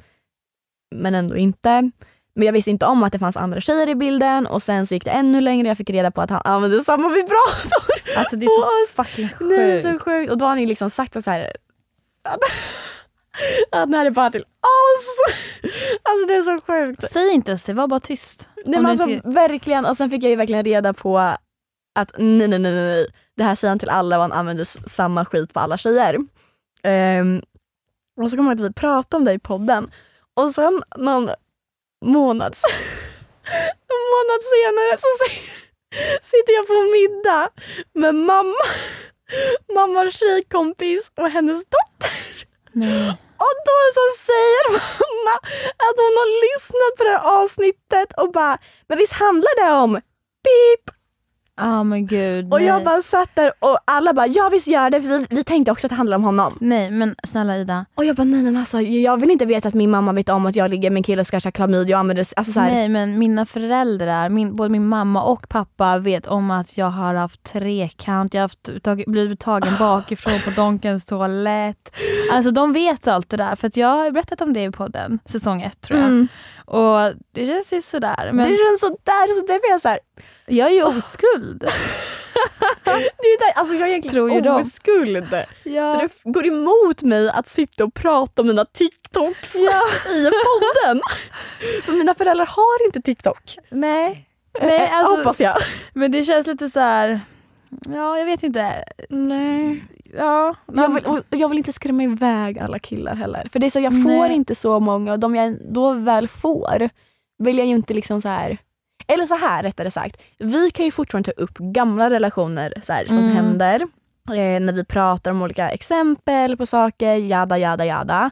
S2: Men ändå inte. Men jag visste inte om att det fanns andra tjejer i bilden och sen så gick det ännu längre. Jag fick reda på att han använde samma vibrator
S3: Alltså det
S2: på
S3: är
S2: oss.
S3: så fucking sjukt.
S2: Nej, så sjukt. Och då har ni liksom sagt att så här, att, att när det bara till oss. Alltså det är så sjukt.
S3: Säg inte ens det, var bara tyst.
S2: Nej, men
S3: Om det
S2: alltså,
S3: inte-
S2: verkligen. Och sen fick jag ju verkligen reda på att nej, nej, nej, nej, nej. Det här säger han till alla och han använder s- samma skit på alla tjejer. Ehm, och så kommer jag ihåg att vi pratade om det i podden. Och sen någon månad, s- en månad senare så si- sitter jag på middag med mamma, mammas tjejkompis och hennes dotter.
S3: Nej.
S2: Och då så säger mamma att hon har lyssnat på det här avsnittet och bara, men visst handlar det om pip?
S3: Ja Ah, men gud.
S2: Och
S3: nej.
S2: jag bara satt där och alla bara, ja visst gör det för vi, vi tänkte också att det handlar om honom.
S3: Nej men snälla Ida.
S2: Och jag bara, nej nej men alltså jag vill inte veta att min mamma vet om att jag ligger med en kille och ska köra klamydia och använder, alltså så här,
S3: Nej men mina föräldrar, min, både min mamma och pappa vet om att jag har haft trekant, jag har haft, tag, blivit tagen
S2: Ah.
S3: bakifrån på Donkens toalett. Alltså de vet allt det där för att jag har berättat om det i podden, säsong ett tror jag.
S2: mm.
S3: Och det känns ju sådär. Men
S2: det känns sådär, så därför är jag såhär,
S3: jag är ju oskuld.
S2: det är där, alltså jag är
S3: Tror ju
S2: egentligen
S3: de.
S2: oskuld. Så det f- går emot mig att sitta och prata om mina TikToks
S3: Ja.
S2: i podden. för mina föräldrar har inte TikTok.
S3: Nej. Nej,
S2: Eh,
S3: alltså-
S2: Hoppas jag.
S3: Men det känns lite så här. ja jag vet inte.
S2: Nej.
S3: Ja,
S2: Jag vill, och jag vill inte skrämma iväg alla killar heller. För det är så, jag får
S3: Nej.
S2: inte så många och de jag då väl får vill jag ju inte liksom så här. Eller så här rättare sagt. Vi kan ju fortfarande ta upp gamla relationer så här, som
S3: Mm.
S2: händer. Eh, när vi pratar om olika exempel på saker, jada jada jada.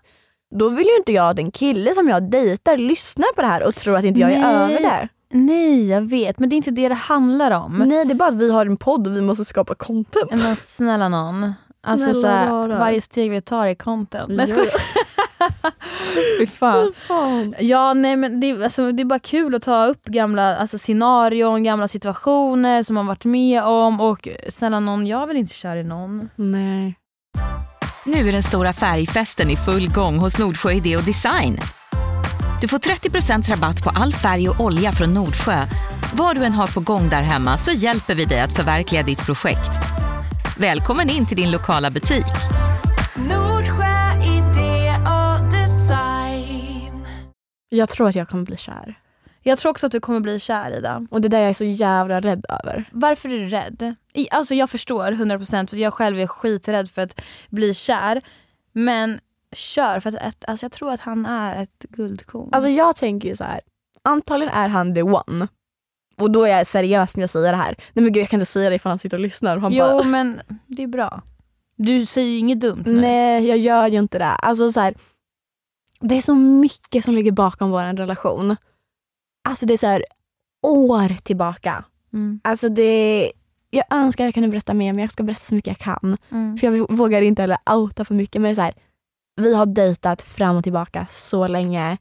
S2: Då vill ju inte jag att en kille som jag dejtar lyssnar på det här och tror att inte jag
S3: Nej.
S2: är över det.
S3: Nej jag vet men det är inte det det handlar om.
S2: Nej det är bara att vi har en podd och vi måste skapa content.
S3: Men snälla någon. Alltså
S2: Snälla
S3: så här,
S2: rara.
S3: varje steg vi tar är content. Nej skojar. Fy
S2: Ja.
S3: fan. Ja nej men det, alltså, det är bara kul att ta upp gamla alltså, scenarion, gamla situationer som man varit med om och snälla någon, jag vill inte kär i någon.
S2: Nej.
S1: Nu är den stora färgfesten i full gång hos Nordsjö Idé och Design. Du får 30 rabatt på all färg och olja från Nordsjö. Vad du än har på gång där hemma så hjälper vi dig att förverkliga ditt projekt. Välkommen in till din lokala butik.
S4: Nordsjö idé och design.
S2: Jag tror att jag kommer bli kär.
S3: Jag tror också att du kommer bli kär Ida.
S2: Och det där jag är så jävla rädd över.
S3: Varför är du rädd? I, alltså jag förstår 100% för jag själv är skiträdd för att bli kär. Men kör för att- att alltså, jag tror att han är ett guldkorn.
S2: Alltså jag tänker ju så här. antagligen är han the one. Och då är jag seriös när jag säger det här. Nej men gud jag kan inte säga det ifall han sitter och lyssnar. Och han
S3: jo
S2: bara,
S3: men det är bra. Du säger ju inget dumt nu.
S2: nej jag gör ju inte det. Alltså så här, Det är så mycket som ligger bakom vår relation. Alltså det är så här år tillbaka.
S3: Mm.
S2: Alltså det jag önskar jag kunde berätta mer men jag ska berätta så mycket jag kan.
S3: Mm.
S2: För jag vågar inte heller outa för mycket. Men det är så här, vi har dejtat fram och tillbaka så länge.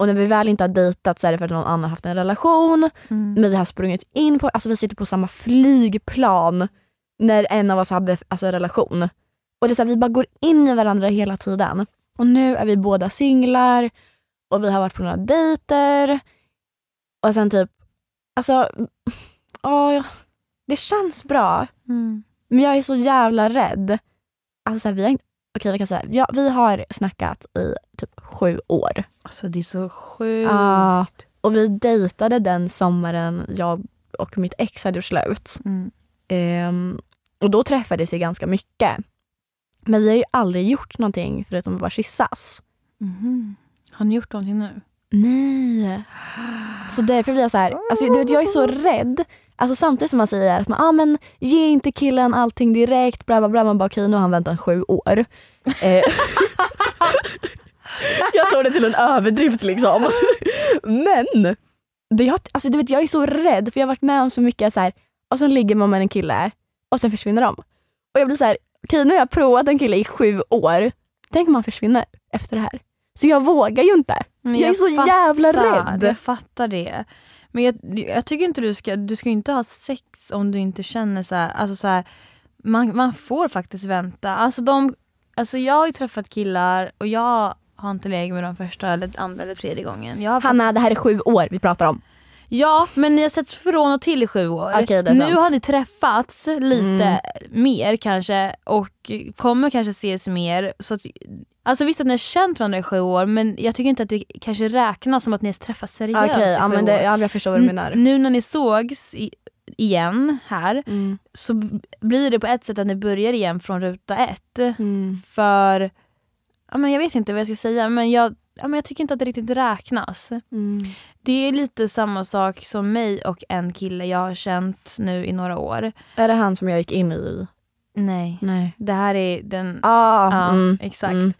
S2: Och när vi väl inte har dejtat så är det för att någon annan har haft en relation.
S3: Mm.
S2: Men vi har sprungit in på, alltså vi sitter på samma flygplan när en av oss hade alltså, en relation. Och det är så här, vi bara går in i varandra hela tiden. Och nu är vi båda singlar och vi har varit på några dejter. Och sen typ, alltså, ja, det känns bra.
S3: Mm.
S2: Men jag är så jävla rädd. Alltså så här, vi har inte, okej vi kan säga, ja, vi har snackat i typ sju år.
S3: Alltså det är så sjukt.
S2: Ja. och vi dejtade den sommaren jag och mitt ex hade gjort slut.
S3: Mm.
S2: Ehm, och då träffades vi ganska mycket. Men vi har ju aldrig gjort någonting förutom att bara kyssas.
S3: Mhm. Har ni gjort någonting nu?
S2: Nej. Så därför blir jag så här, alltså, du vet, jag är så rädd Alltså samtidigt som man säger att man, ah, men, ge inte killen allting direkt, bla bla bla. Man bara okej nu har han väntat sju år. Eh, jag tog det till en överdrift liksom. men det jag, alltså, du vet, jag är så rädd för jag har varit med om så mycket så här, och sen ligger man med en kille och sen försvinner de. Och jag blir så här, okej nu har jag provat en kille i sju år. Tänk om han försvinner efter det här. Så jag vågar ju inte.
S3: Men
S2: Jag, är så
S3: fattar,
S2: jävla rädd.
S3: Jag fattar det. Men jag, jag tycker inte du ska, du ska ju inte ha sex om du inte känner så här, alltså så här man, man får faktiskt vänta. Alltså, de, alltså jag har ju träffat killar och jag har inte legat med dem första eller andra eller tredje gången. Jag har
S2: Hanna det här är sju år vi pratar om.
S3: Ja, men ni har sett från och till i sju år.
S2: Okej, det är
S3: nu
S2: sant. Mm.
S3: har ni träffats lite mer kanske och kommer kanske ses mer. Så att, alltså visst att ni har känt varandra i sju år men jag tycker inte att det kanske räknas som att ni har träffats seriöst
S2: Okej,
S3: i
S2: ja,
S3: sju
S2: men
S3: år.
S2: det, ja, jag förstår vad du menar.
S3: N- Nu när ni sågs i, igen här
S2: Mm.
S3: så b- blir det på ett sätt att ni börjar igen från ruta ett.
S2: Mm.
S3: För, ja, men jag vet inte vad jag ska säga men jag, ja, men jag tycker inte att det riktigt räknas.
S2: Mm.
S3: Det är lite samma sak som mig och en kille jag har känt nu i några år.
S2: Är det han som jag gick in i?
S3: Nej,
S2: Nej.
S3: det här är den...
S2: Ah,
S3: ja,
S2: mm.
S3: exakt.
S2: mm.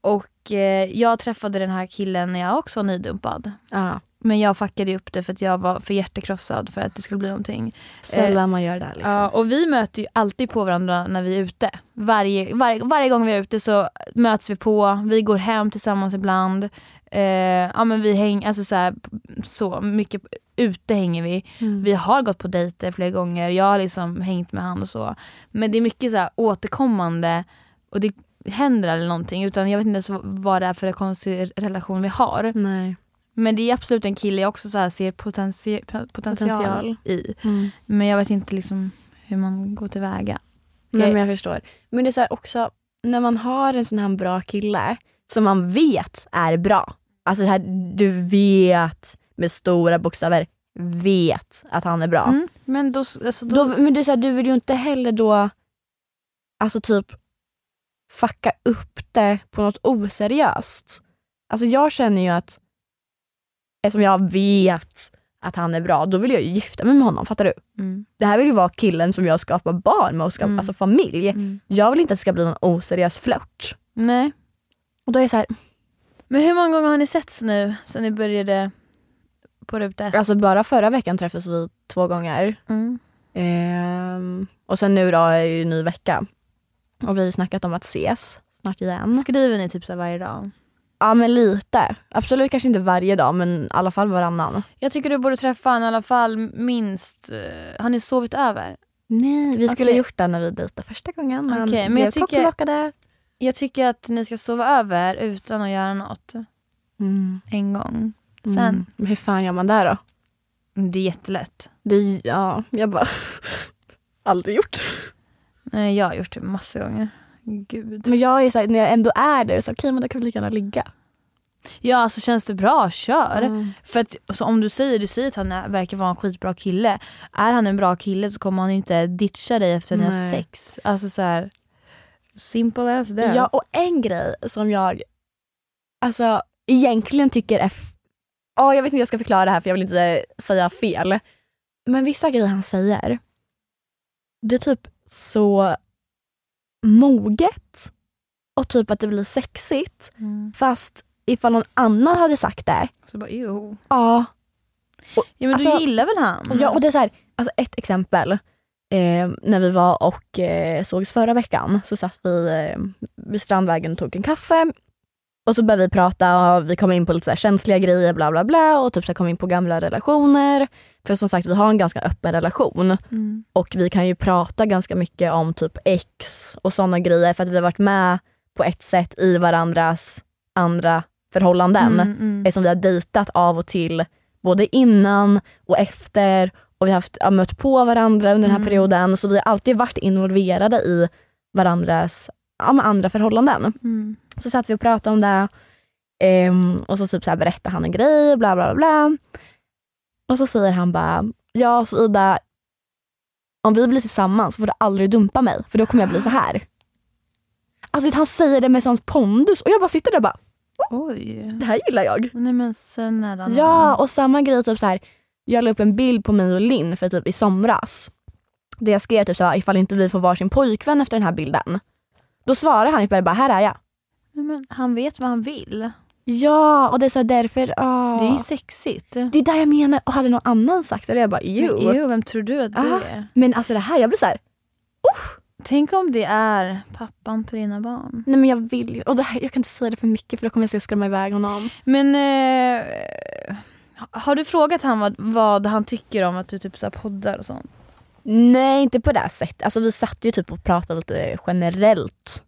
S3: Och eh, jag träffade den här killen när jag också var nydumpad.
S2: ah.
S3: Men jag fuckade upp det för att jag var för hjärtekrossad för att det skulle bli någonting.
S2: Sällan man gör det här, liksom.
S3: Ja, och vi möter ju alltid på varandra när vi är ute. Varje, varje, varje gång vi är ute så möts vi på, vi går hem tillsammans ibland. Eh, ja, men vi hänger, alltså så, här, så mycket ute hänger vi.
S2: Mm.
S3: Vi har gått på dejter flera gånger, jag har liksom hängt med han och så. Men det är mycket så här återkommande och det händer aldrig någonting utan jag vet inte ens vad det är för konstig relation vi har.
S2: Nej.
S3: Men det är absolut en kille jag också så här ser potentie- potential,
S2: Potential. Mm.
S3: i. Men jag vet inte liksom hur man går tillväga.
S2: Nej,
S3: Okej.
S2: men jag förstår. Men det är så här också, när man har en sån här bra kille som man vet är bra. Alltså det här, du vet med stora bokstäver, vet att han är bra.
S3: Mm. Men då, alltså, då,
S2: Då, men det är så här, du vill ju inte heller då alltså typ fucka upp det på något oseriöst. Alltså jag känner ju att eftersom jag vet att han är bra, då vill jag ju gifta mig med honom. Fattar du?
S3: Mm.
S2: Det här vill ju vara killen som jag skapar barn med och skapar,
S3: Mm.
S2: alltså familj.
S3: Mm.
S2: Jag vill inte att det ska bli någon oseriös flört.
S3: Nej.
S2: Och då är jag så här,
S3: Men hur många gånger har ni setts nu sen ni började på ruta ett?
S2: alltså bara förra veckan träffades vi två gånger.
S3: Mm.
S2: Ehm, och sen nu då är det ju ny vecka. Och vi har ju snackat om att ses snart igen.
S3: Skriver ni typ så här varje dag?
S2: Ja men lite. Absolut kanske inte varje dag men i alla fall varannan.
S3: Jag tycker du borde träffa honom i alla fall minst... eh, har ni sovit över?
S2: Nej, vi skulle
S3: Okej.
S2: ha gjort det när vi dejtade första gången. Men
S3: Okej, men
S2: blev
S3: jag tycker-
S2: kockblockade.
S3: Jag tycker att ni ska sova över utan att göra något
S2: Mm.
S3: en gång.
S2: Mm.
S3: Sen,
S2: Men hur fan gör man där då?
S3: det är jättelätt.
S2: Det, är- ja, jag bara... aldrig gjort.
S3: Nej, jag har gjort det massor gånger. Gud.
S2: Men jag är såhär, när jag ändå är där så okej men då kan vi lika gärna ligga.
S3: Ja, alltså känns det bra, kör.
S2: Mm.
S3: För att alltså, om du säger, du säger att han är, verkar vara en skitbra kille. Är han en bra kille så kommer han inte ditcha dig efter ni har haft
S2: Nej.
S3: sex. Alltså så här, simple as that.
S2: Ja och en grej som jag alltså egentligen tycker är... F- Ja, jag vet inte hur jag ska förklara det här för jag vill inte säga fel. Men vissa grejer han säger, det är typ så moget och typ att det blir sexigt.
S3: Mm.
S2: Fast ifall någon annan hade sagt det,
S3: Så bara, jo.
S2: ja.
S3: Ja men
S2: Alltså-
S3: du gillar väl han?
S2: ja och det är så här, alltså ett exempel. Eh, när vi var och eh, sågs förra veckan så satt vi eh, vid Strandvägen och tog en kaffe. Och så började vi prata och vi kom in på lite så här känsliga grejer bla bla bla och typ så här kom in på gamla relationer. För som sagt vi har en ganska öppen relation.
S3: Mm.
S2: Och vi kan ju prata ganska mycket om typ ex och sådana grejer för att vi har varit med på ett sätt i varandras andra förhållanden.
S3: Mm, mm.
S2: Eftersom vi har dejtat av och till både innan och efter och vi har haft, ja, mött på varandra under den här
S3: Mm.
S2: perioden. Så vi har alltid varit involverade i varandras ja, med andra förhållanden.
S3: Mm.
S2: Så satt vi och pratade om det ehm, och så, typ så här berättade han en grej, bla bla bla. bla. Och så säger han bara, ja så Ida, om vi blir tillsammans får du aldrig dumpa mig för då kommer jag bli så här. Alltså han säger det med sån pondus och jag bara sitter där och bara,
S3: Oj.
S2: det här gillar jag.
S3: Nej men sen är han
S2: Ja, och samma grej typ så här. Jag la upp en bild på mig och Linn för typ i somras. Där jag skrev typ så här, ifall inte vi får varsin pojkvän efter den här bilden. Då svarar han typ bara, här är jag.
S3: Nej, men han vet vad han vill.
S2: Ja, och det är så här, därför, ah.
S3: Det är ju sexigt.
S2: Det är där jag menar. Och hade någon annan sagt det, då hade jag bara
S3: Men
S2: jo.
S3: ew, vem tror du att du
S2: Ah.
S3: är?
S2: Men alltså det här, jag blir så här.
S3: Tänk om det är pappan till dina barn.
S2: nej men jag vill ju. Och det här, jag kan inte säga det för mycket för då kommer jag att skrämma iväg honom.
S3: Men eh, har du frågat han vad, vad han tycker om att du typ så här poddar och sånt?
S2: Nej, inte på det här sättet. Alltså vi satt ju typ och pratade lite generellt.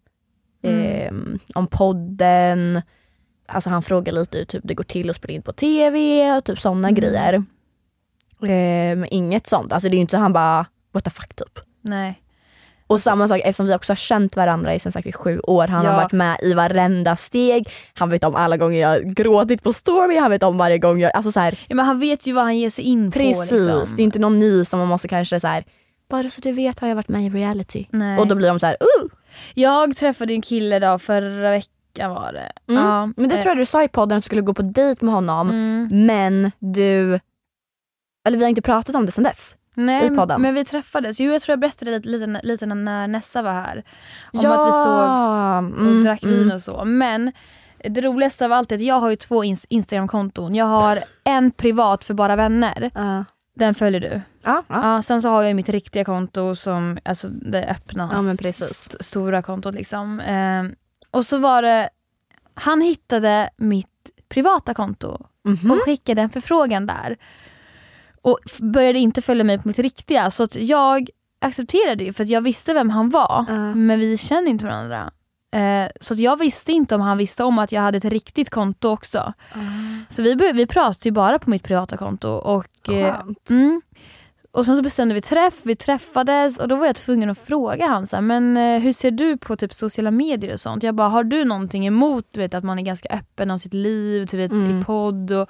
S3: Mm.
S2: Eh, om podden. Alltså han frågade lite hur typ, det går till att spela in på tv och typ sådana
S3: Mm.
S2: grejer. Eh, men inget sånt. Alltså det är ju inte så han bara what the fuck typ.
S3: Nej.
S2: Och samma sak eftersom vi också har känt varandra i som sagt i sju år. Han
S3: Ja.
S2: har varit med i varenda steg. Han vet om alla gånger jag har gråtit på story. Han vet om varje gång jag... Alltså så här,
S3: Ja, men han vet ju vad han ger sig in
S2: precis.
S3: på. Liksom.
S2: Det är inte någon ny som man måste kanske så här. Bara så du vet har jag varit med i reality.
S3: Nej.
S2: Och då blir de så här, uh!
S3: Jag träffade en kille då förra veckan var det.
S2: Mm.
S3: Ja,
S2: Men det
S3: eh,
S2: tror jag du sa i podden att du skulle gå på dejt med honom.
S3: mm.
S2: Men du... Eller vi har inte pratat om det sen dess.
S3: Nej,
S2: i podden.
S3: men vi träffades. Jo, jag tror jag berättade lite, lite, lite när Nessa var här. Om att vi sågs
S2: sågs
S3: och drack
S2: Mm.
S3: vin och så. Men det roligaste av allt är att jag har ju två ins- Instagram-konton. Jag har en privat för bara vänner.
S2: Ja,
S3: Den följer du.
S2: ja. ja.
S3: Ja, sen så har jag ju mitt riktiga konto som alltså det öppna
S2: Ja, men precis.
S3: st- stora kontot liksom. Eh, och så var det, han hittade mitt privata konto
S2: Mhm.
S3: och skickade en förfrågan där. Och f- började inte följa mig på mitt riktiga så att jag accepterade ju för att jag visste vem han var
S2: Ja.
S3: men vi känner inte varandra. Eh, så att jag visste inte om han visste om att jag hade ett riktigt konto också. Så vi, bör- vi pratade ju bara på mitt privata konto och eh,
S2: Skönt.
S3: Mm. Och sen så bestämde vi träff, vi träffades och då var jag tvungen att fråga han så här, men eh, hur ser du på typ sociala medier och sånt? Jag bara, har du någonting emot du vet, att man är ganska öppen om sitt liv, du vet, i
S2: Mm.
S3: podd och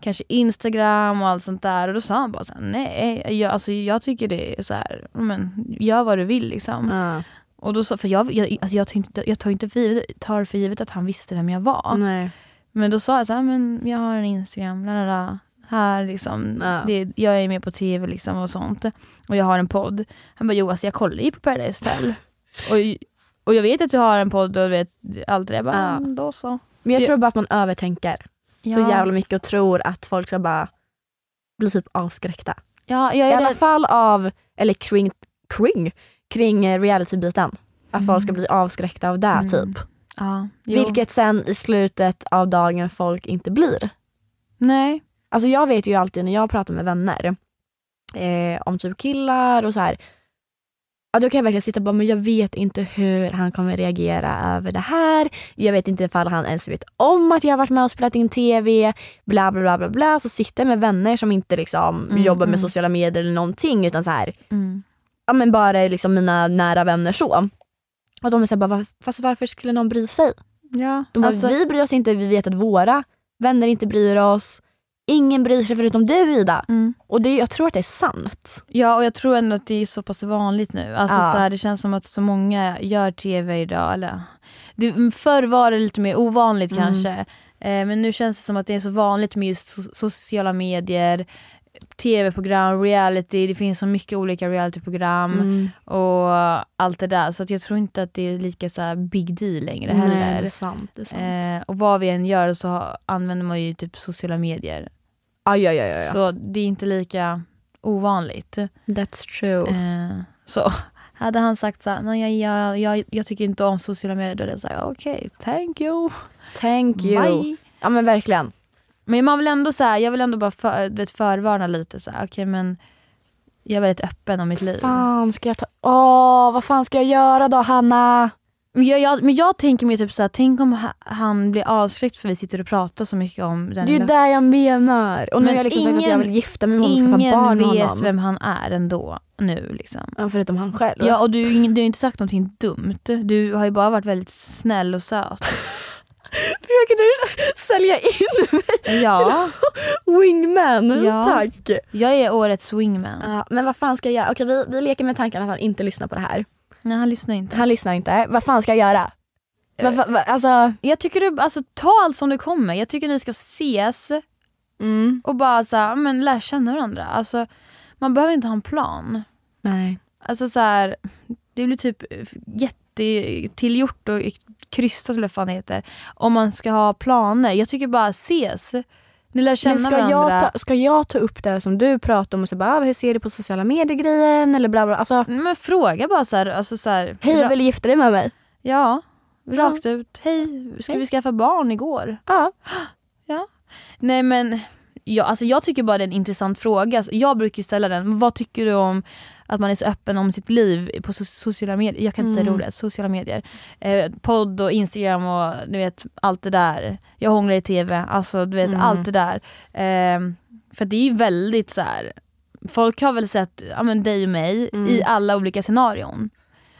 S3: kanske Instagram och allt sånt där? Och då sa han bara så här, nej, jag, alltså, jag tycker det är så här, men gör vad du vill liksom.
S2: Ja.
S3: Och då sa, för jag, jag, alltså, jag, tar inte, jag tar inte för givet, tar för givet att han visste vem jag var.
S2: Nej.
S3: Men då sa jag så här, men jag har en Instagram, la, la, la. Här liksom,
S2: Ja.
S3: det, jag är med på tv liksom och sånt. Och jag har en podd. Han bara, jo alltså jag kollar ju på Paradise Hotel. och, och jag vet att du har en podd och du vet allt det där. Jag bara,
S2: Ja.
S3: "Mm, då så.
S2: Men jag tror bara att man övertänker så
S3: Ja.
S2: jävla mycket och tror att folk ska bara bli typ avskräckta.
S3: Ja, jag
S2: I
S3: är
S2: alla
S3: rädd.
S2: fall av, eller kring, kring, kring eh, reality-biten. Att
S3: Mm.
S2: folk ska bli avskräckta av det
S3: Mm.
S2: typ.
S3: Ja, jo.
S2: Vilket sen i slutet av dagen folk inte blir.
S3: Nej.
S2: Alltså jag vet ju alltid när jag pratar med vänner eh, om typ killar och så här. Ja, då kan jag verkligen sitta och bara, men jag vet inte hur han kommer reagera över det här. Jag vet inte ifall han ens vet om att jag har varit med och spelat in tv. Bla bla bla bla bla. Så sitter jag med vänner som inte liksom
S3: Mm,
S2: jobbar med
S3: mm.
S2: sociala medier eller någonting utan så här,
S3: Mm.
S2: ja men bara liksom mina nära vänner så. Och de är såhär, bara, "Va- fast varför skulle någon bry sig?
S3: Ja,
S2: De bara,
S3: alltså,
S2: vi bryr oss inte, vi vet att våra vänner inte bryr oss. Ingen bryr sig förutom du Ida.
S3: mm.
S2: Och det, jag tror att det är sant.
S3: Ja och jag tror ändå att det är så pass vanligt nu. Alltså,
S2: Ja.
S3: så här, det känns som att så många gör tv idag. Eller? Det, förr var det lite mer ovanligt
S2: Mm.
S3: kanske. Eh, men nu känns det som att det är så vanligt med just so- sociala medier, tv-program, reality. Det finns så mycket olika realityprogram
S2: Mm.
S3: och allt det där. Så att jag tror inte att det är lika så här big deal längre
S2: Nej, det
S3: heller.
S2: är sant. Det är sant.
S3: Eh, och vad vi än gör så ha- använder man ju typ sociala medier.
S2: Ah, ja, ja, ja, ja.
S3: Så det är inte lika ovanligt.
S2: That's true.
S3: Eh, så hade han sagt så här, nej jag, jag, jag, jag tycker inte om sociala medier, då hade jag sagt okej, thank you,
S2: Thank you.
S3: bye.
S2: Ja men verkligen.
S3: Men man vill ändå så här, jag vill ändå bara för, du vet, förvarna lite så här, okej men jag är väldigt öppen om mitt liv.
S2: Fan ska jag ta... Åh, vad fan ska jag göra då Hanna?
S3: Men jag, jag, men jag tänker mer typ så här, tänk om ha, han blir avskräckt för vi sitter och pratar så mycket om den
S2: Det är ju det jag menar. Och nu
S3: Men
S2: har jag liksom sagt att jag
S3: ingen-
S2: vill gifta mig med honom och skaffa barn
S3: Ingen
S2: med
S3: vet
S2: honom.
S3: vem han är ändå nu liksom.
S2: Ja, förutom han själv.
S3: Ja och du, är ju ingen- du har ju inte sagt någonting dumt, du har ju bara varit väldigt snäll och söt.
S2: Försöker du sälja in
S3: Ja,
S2: wingman?
S3: Ja.
S2: Tack.
S3: jag är årets swingman.
S2: Ja, men vad fan ska jag göra? Okej, vi, vi leker med tanken att han inte lyssnar på det här.
S3: Nej han lyssnar inte.
S2: Han lyssnar inte. Vad fan ska jag göra? Vad fa- vad- alltså,
S3: Jag tycker du, alltså ta allt som det kommer. Jag tycker ni ska ses
S2: Mm.
S3: Och bara så här, men lär känna varandra. Alltså, man behöver inte ha en plan.
S2: Nej.
S3: Alltså så här, det blir typ jättetillgjort och kryssat eller vad fan det heter. Om man ska ha planer. Jag tycker bara ses. Ni lär känna
S2: Men ska
S3: varandra.
S2: jag, ta, ska jag ta upp det som du pratar om och säga bara, ah, hur ser du på sociala medier-grejen eller bla bla. Alltså,
S3: Men fråga bara så här, alltså så här
S2: hej
S3: ra-
S2: vill du gifta dig med mig?
S3: Ja, rakt ut. Hej, ska
S2: Hej.
S3: vi skaffa barn igår?
S2: Ja.
S3: Nej men, ja, alltså jag tycker bara det är en intressant fråga. Alltså, Jag brukar ju ställa den, vad tycker du om att man är så öppen om sitt liv på so- sociala medier? Jag kan inte säga
S2: Mm.
S3: det ordet, sociala medier. Eh, podd och Instagram och du vet allt det där. Jag hånglar i TV, alltså du vet
S2: Mm.
S3: allt det där. Eh, för att det är ju väldigt så här. folk har väl sett ja, men dig och mig
S2: Mm.
S3: i alla olika scenarion.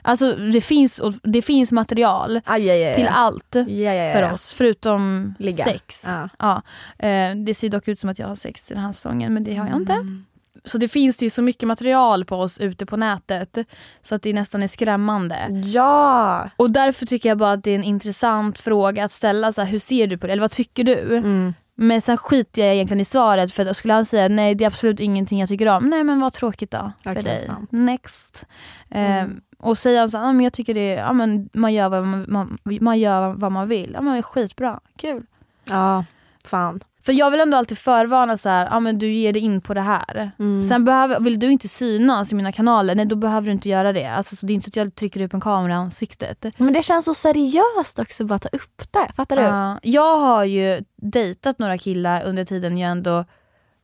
S3: Alltså det finns, och det finns material
S2: Aj, aj, aj,
S3: till
S2: aj.
S3: allt
S2: Ja, ja, ja,
S3: för
S2: ja.
S3: oss förutom
S2: Eh, Ligga.
S3: sex.
S2: Ja.
S3: Ja, eh, det ser dock ut som att jag har sex till den här säsongen men det har jag inte.
S2: Mm.
S3: Så det finns ju så mycket material på oss ute på nätet så att det nästan är skrämmande.
S2: Ja!
S3: Och därför tycker jag bara att det är en intressant fråga att ställa så här, hur ser du på det eller vad tycker du?
S2: Mm.
S3: Men sen skiter jag egentligen i svaret för då skulle han säga nej det är absolut ingenting jag tycker om. Nej men vad tråkigt då för
S2: Okej,
S3: dig.
S2: sant.
S3: Next. Eh,
S2: Mm.
S3: och säger han så här, "Ah, men jag tycker det är, ja, men man, gör vad man, man, man gör vad man vill. Ja men skitbra, kul.
S2: Ja, fan.
S3: För jag vill ändå alltid förvarna så här, ah, men du ger dig in på det här.
S2: Mm.
S3: Sen behöver, vill du inte synas i mina kanaler, nej då behöver du inte göra det. Alltså, så det är inte så att jag trycker upp en kamera i ansiktet.
S2: Men det känns så seriöst också att bara ta upp det. Fattar du?
S3: Ja, Ah, jag har ju dejtat några killar under tiden jag ändå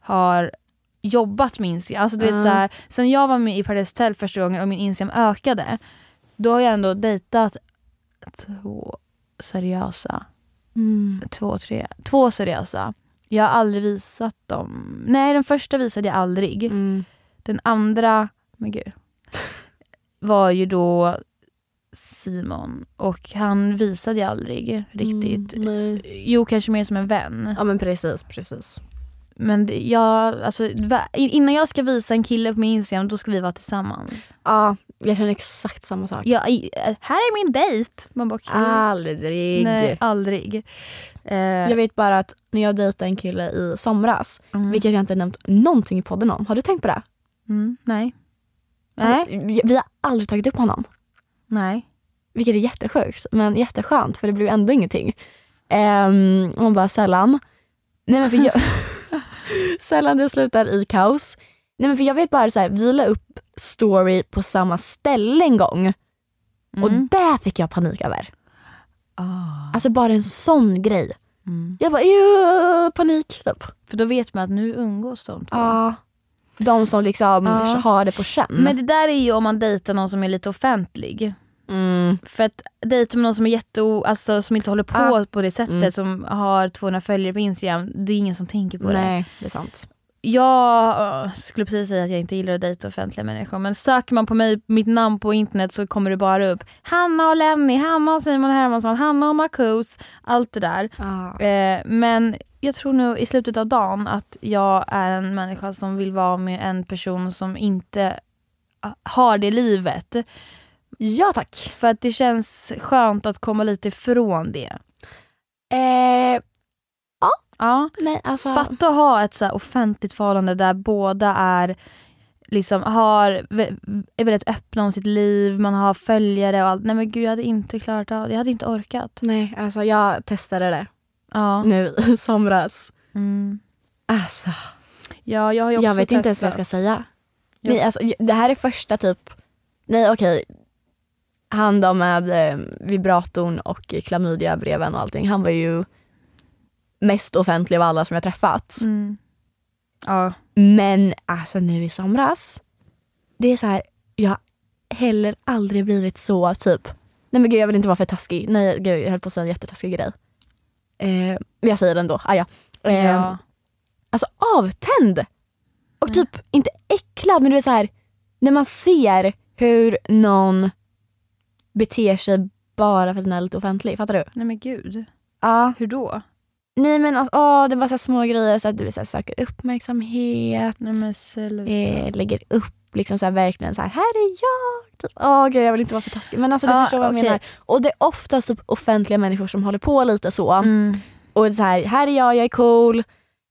S3: har jobbat med Instagram. Alltså, du
S2: Ja.
S3: vet, så här, sen jag var med i Paradise Hotel första gången och min Instagram ökade, då har jag ändå dejtat två seriösa
S2: Mm.
S3: två, tre, två seriösa. alltså. Jag har aldrig visat dem. Nej, den första visade jag aldrig.
S2: Mm.
S3: Den andra, men gud, var ju då Simon och han visade jag aldrig riktigt.
S2: Mm, nej.
S3: Jo, kanske mer som en vän.
S2: Ja men precis, precis.
S3: Men det- jag, alltså, va- innan jag ska visa en kille på min Instagram, då ska vi vara tillsammans.
S2: Ja, jag känner exakt samma sak.
S3: Jag, i- eh, här är min dejt. Man bara, okej.
S2: Aldrig.
S3: Nej, aldrig. Eh,
S2: Jag vet bara att när jag dejtade en kille i somras,
S3: mm,
S2: vilket jag inte nämnt någonting i podden om. Har du tänkt på det?
S3: mm, nej. Nej.
S2: Alltså, vi- vi har aldrig tagit upp honom.
S3: Nej.
S2: Vilket är jättesjukt, men jätteskönt för det blev ändå ingenting. Um, hon bara sällan. Nej men för jag... sällan det slutar i kaos. Nej men för jag vet bara så här, vi la upp story på samma ställe en gång och
S3: Mm. Ah.
S2: där fick jag panik över. Alltså bara en sån grej. Jag bara "Ew, panik typ.
S3: För då vet man att nu umgås de två.
S2: Ja. Mm. De som liksom
S3: Ja.
S2: har det på känn.
S3: Men det där är ju om man dejtar någon som är lite offentlig.
S2: mm.
S3: För att dejta med någon som är jätte, alltså, som inte håller på
S2: Ah.
S3: på det sättet,
S2: Mm.
S3: som har 200 följare på Instagram, det är ingen som tänker på det.
S2: Nej, det är sant.
S3: Jag eh, skulle precis säga att jag inte gillar att dejta offentliga människor men söker man på mig, mitt namn på internet så kommer det bara upp Hanna och Lenny, Hanna och Simon Hermansson, Hanna och Marcus, allt det där. Eh, men jag tror nu i slutet av dagen att jag är en människa som vill vara med en person som inte ah, har det livet.
S2: Ja tack.
S3: För att det känns skönt att komma lite ifrån det.
S2: Eh,
S3: Ja.
S2: nej alltså.
S3: Fatta att ha ett så här offentligt förhållande där båda är liksom har, är väldigt öppna om sitt liv, man har följare och allt. Nej men gud jag hade inte klarat av det, jag hade inte orkat.
S2: Nej, alltså jag testade det
S3: Ja,
S2: nu i somras.
S3: mm.
S2: Alltså,
S3: ja jag har ju
S2: jag,
S3: också
S2: vet inte ens vad jag ska
S3: testat.
S2: säga.
S3: Jag-
S2: Nej, alltså, det här är första typ... Nej, okej. Han då med eh, vibratorn och klamydiabreven och allting. Han var ju mest offentlig av alla som jag träffat.
S3: Mm. Ja.
S2: Men alltså nu i somras, det är så här, jag har heller aldrig blivit så typ, nej men gud jag vill inte vara för taskig, nej gud jag höll på att säga en jättetaskig grej. Eh, men jag säger den då, ah, ja. Eh,
S3: ja.
S2: Alltså avtänd! Och typ inte äcklad men du är så här, när man ser hur någon beter sig bara för att den är lite offentlig, fattar du?
S3: Nej men gud,
S2: Ja.
S3: hur då?
S2: Nej men alltså, åh, det var så här små grejer så att du så här, söker uppmärksamhet.
S3: Nej men Mm. sluta.
S2: eh, lägger upp liksom så här, verkligen så här, här är jag. Typ, åh gud, jag vill inte vara för taskig. Men alltså du
S3: Ja,
S2: förstår vad jag
S3: okej.
S2: menar. Och det är oftast typ offentliga människor som håller på lite så.
S3: Mm.
S2: Och så här, här är jag, jag är cool.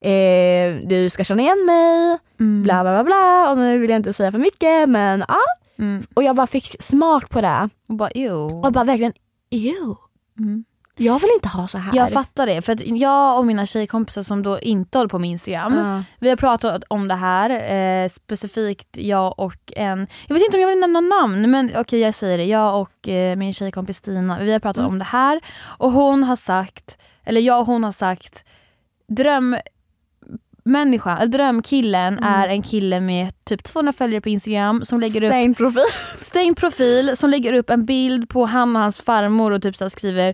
S2: eh, du ska känna igen mig,
S3: Mm.
S2: bla bla bla bla. Och nu vill jag inte säga för mycket men ja.
S3: Mm.
S2: Och jag bara fick smak på det
S3: Och bara jo.
S2: och bara verkligen ew.
S3: Mm.
S2: Jag vill inte ha så här.
S3: Jag fattar det. För att jag och mina tjejkompisar som då inte håller på med Instagram.
S2: Ja.
S3: Vi har pratat om det här, eh, specifikt jag och en, jag vet inte om jag vill nämna namn men okej jag säger det, jag och eh, min tjejkompis Stina, vi har pratat om det här och hon har sagt, eller jag och hon har sagt drömmänniskan, eller drömkillen är en kille med typ 200 följare på Instagram som lägger upp
S2: Stängd profil.
S3: stängd profil som lägger upp en bild på han och hans farmor och typ så här skriver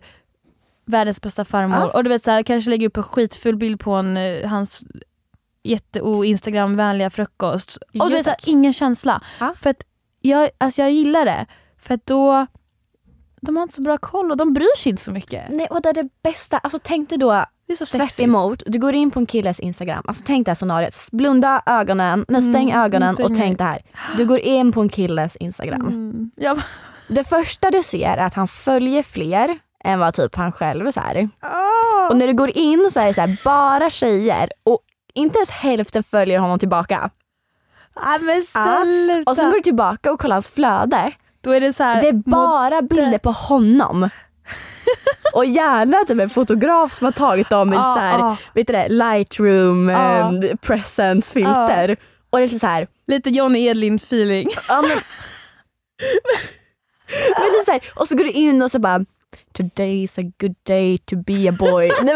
S3: världens bästa farmor.
S2: Ja.
S3: Och du vet så här, kanske lägger upp en skitful bild på en, eh, hans jätte-o-instagramvänliga frukost. Och
S2: Ja,
S3: du vet så här,
S2: tack.
S3: ingen känsla.
S2: Ja.
S3: För att jag, alltså jag gillar det. För att då, de har inte så bra koll och de bryr sig inte så mycket.
S2: Nej, och det är det bästa. Alltså tänk dig då
S3: Det är så sexigt.
S2: tvärt emot. Du går in på en killes instagram. Alltså tänk det här scenariot. Blunda ögonen,
S3: Mm,
S2: nej stäng ögonen
S3: stäng
S2: och
S3: mig.
S2: tänk det här. Du går in på en killes instagram.
S3: Mm. Jag bara,
S2: Det första du ser är att han följer fler än vad typ han själv är så här.
S3: Ah.
S2: Och när du går in så är det så här, bara tjejer och inte ens hälften följer honom tillbaka.
S3: nej men
S2: Ja.
S3: sluta.
S2: Och sen går du tillbaka och kollar hans flöde.
S3: Då är det så här,
S2: Det är bara bilder på honom. Och gärna typ en fotograf som har tagit dem i ett
S3: Ah,
S2: så här,
S3: ah.
S2: vet du det, lightroom
S3: Ah.
S2: eh, presence filter. Och det är så här,
S3: lite Johnny Edlin feeling.
S2: ja, men, men det är så här, och så går du in och så bara Today's a good day to be a boy. Nej, men,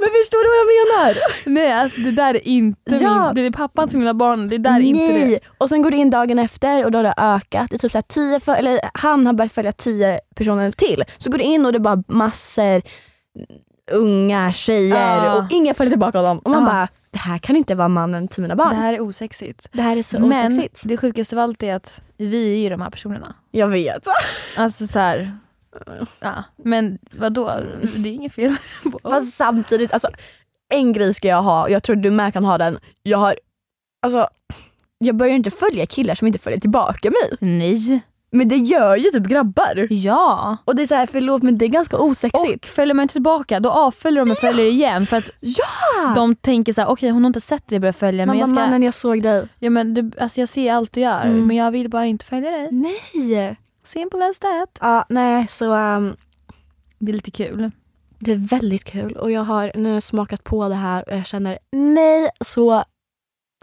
S2: men förstår du vad jag menar?
S3: Nej alltså det där är inte
S2: Ja.
S3: min, det är pappan till mina barn, det där är inte det.
S2: Nej. Och sen går du in dagen efter och då har det ökat. Det är typ så här 10 föl- eller han har börjat följa tio personer till. Så går du in och det är bara massor unga tjejer
S3: Ja.
S2: och ingen följer tillbaka honom. Och man
S3: Ja.
S2: bara, det här kan inte vara mannen till mina barn.
S3: Det
S2: Det här,
S3: här är osexigt.
S2: är så
S3: Men
S2: osexigt.
S3: det sjukaste av allt är att vi är ju de här personerna.
S2: Jag vet.
S3: Alltså så här. Ja. Men vadå, det är inget fel på oss.
S2: Fast samtidigt, alltså, en grej ska jag ha, jag tror du med kan ha den. Jag har, alltså, jag börjar ju inte följa killar som inte följer tillbaka mig.
S3: Nej.
S2: Men det gör ju typ grabbar.
S3: Ja.
S2: Och det är så här, förlåt men det är ganska osexigt.
S3: Och följer man inte tillbaka då avföljer de och följer igen för att de tänker så här: okej hon har inte sett det jag börjar följa
S2: Man
S3: men jag
S2: bara,
S3: ska,
S2: mannen jag såg dig.
S3: ja, men du, alltså jag ser allt du gör
S2: Mm.
S3: men jag vill bara inte följa dig.
S2: Nej.
S3: Simple as that.
S2: Ja, nej så ehm,
S3: Det är lite kul.
S2: det är väldigt kul och jag har nu smakat på det här och jag känner nej så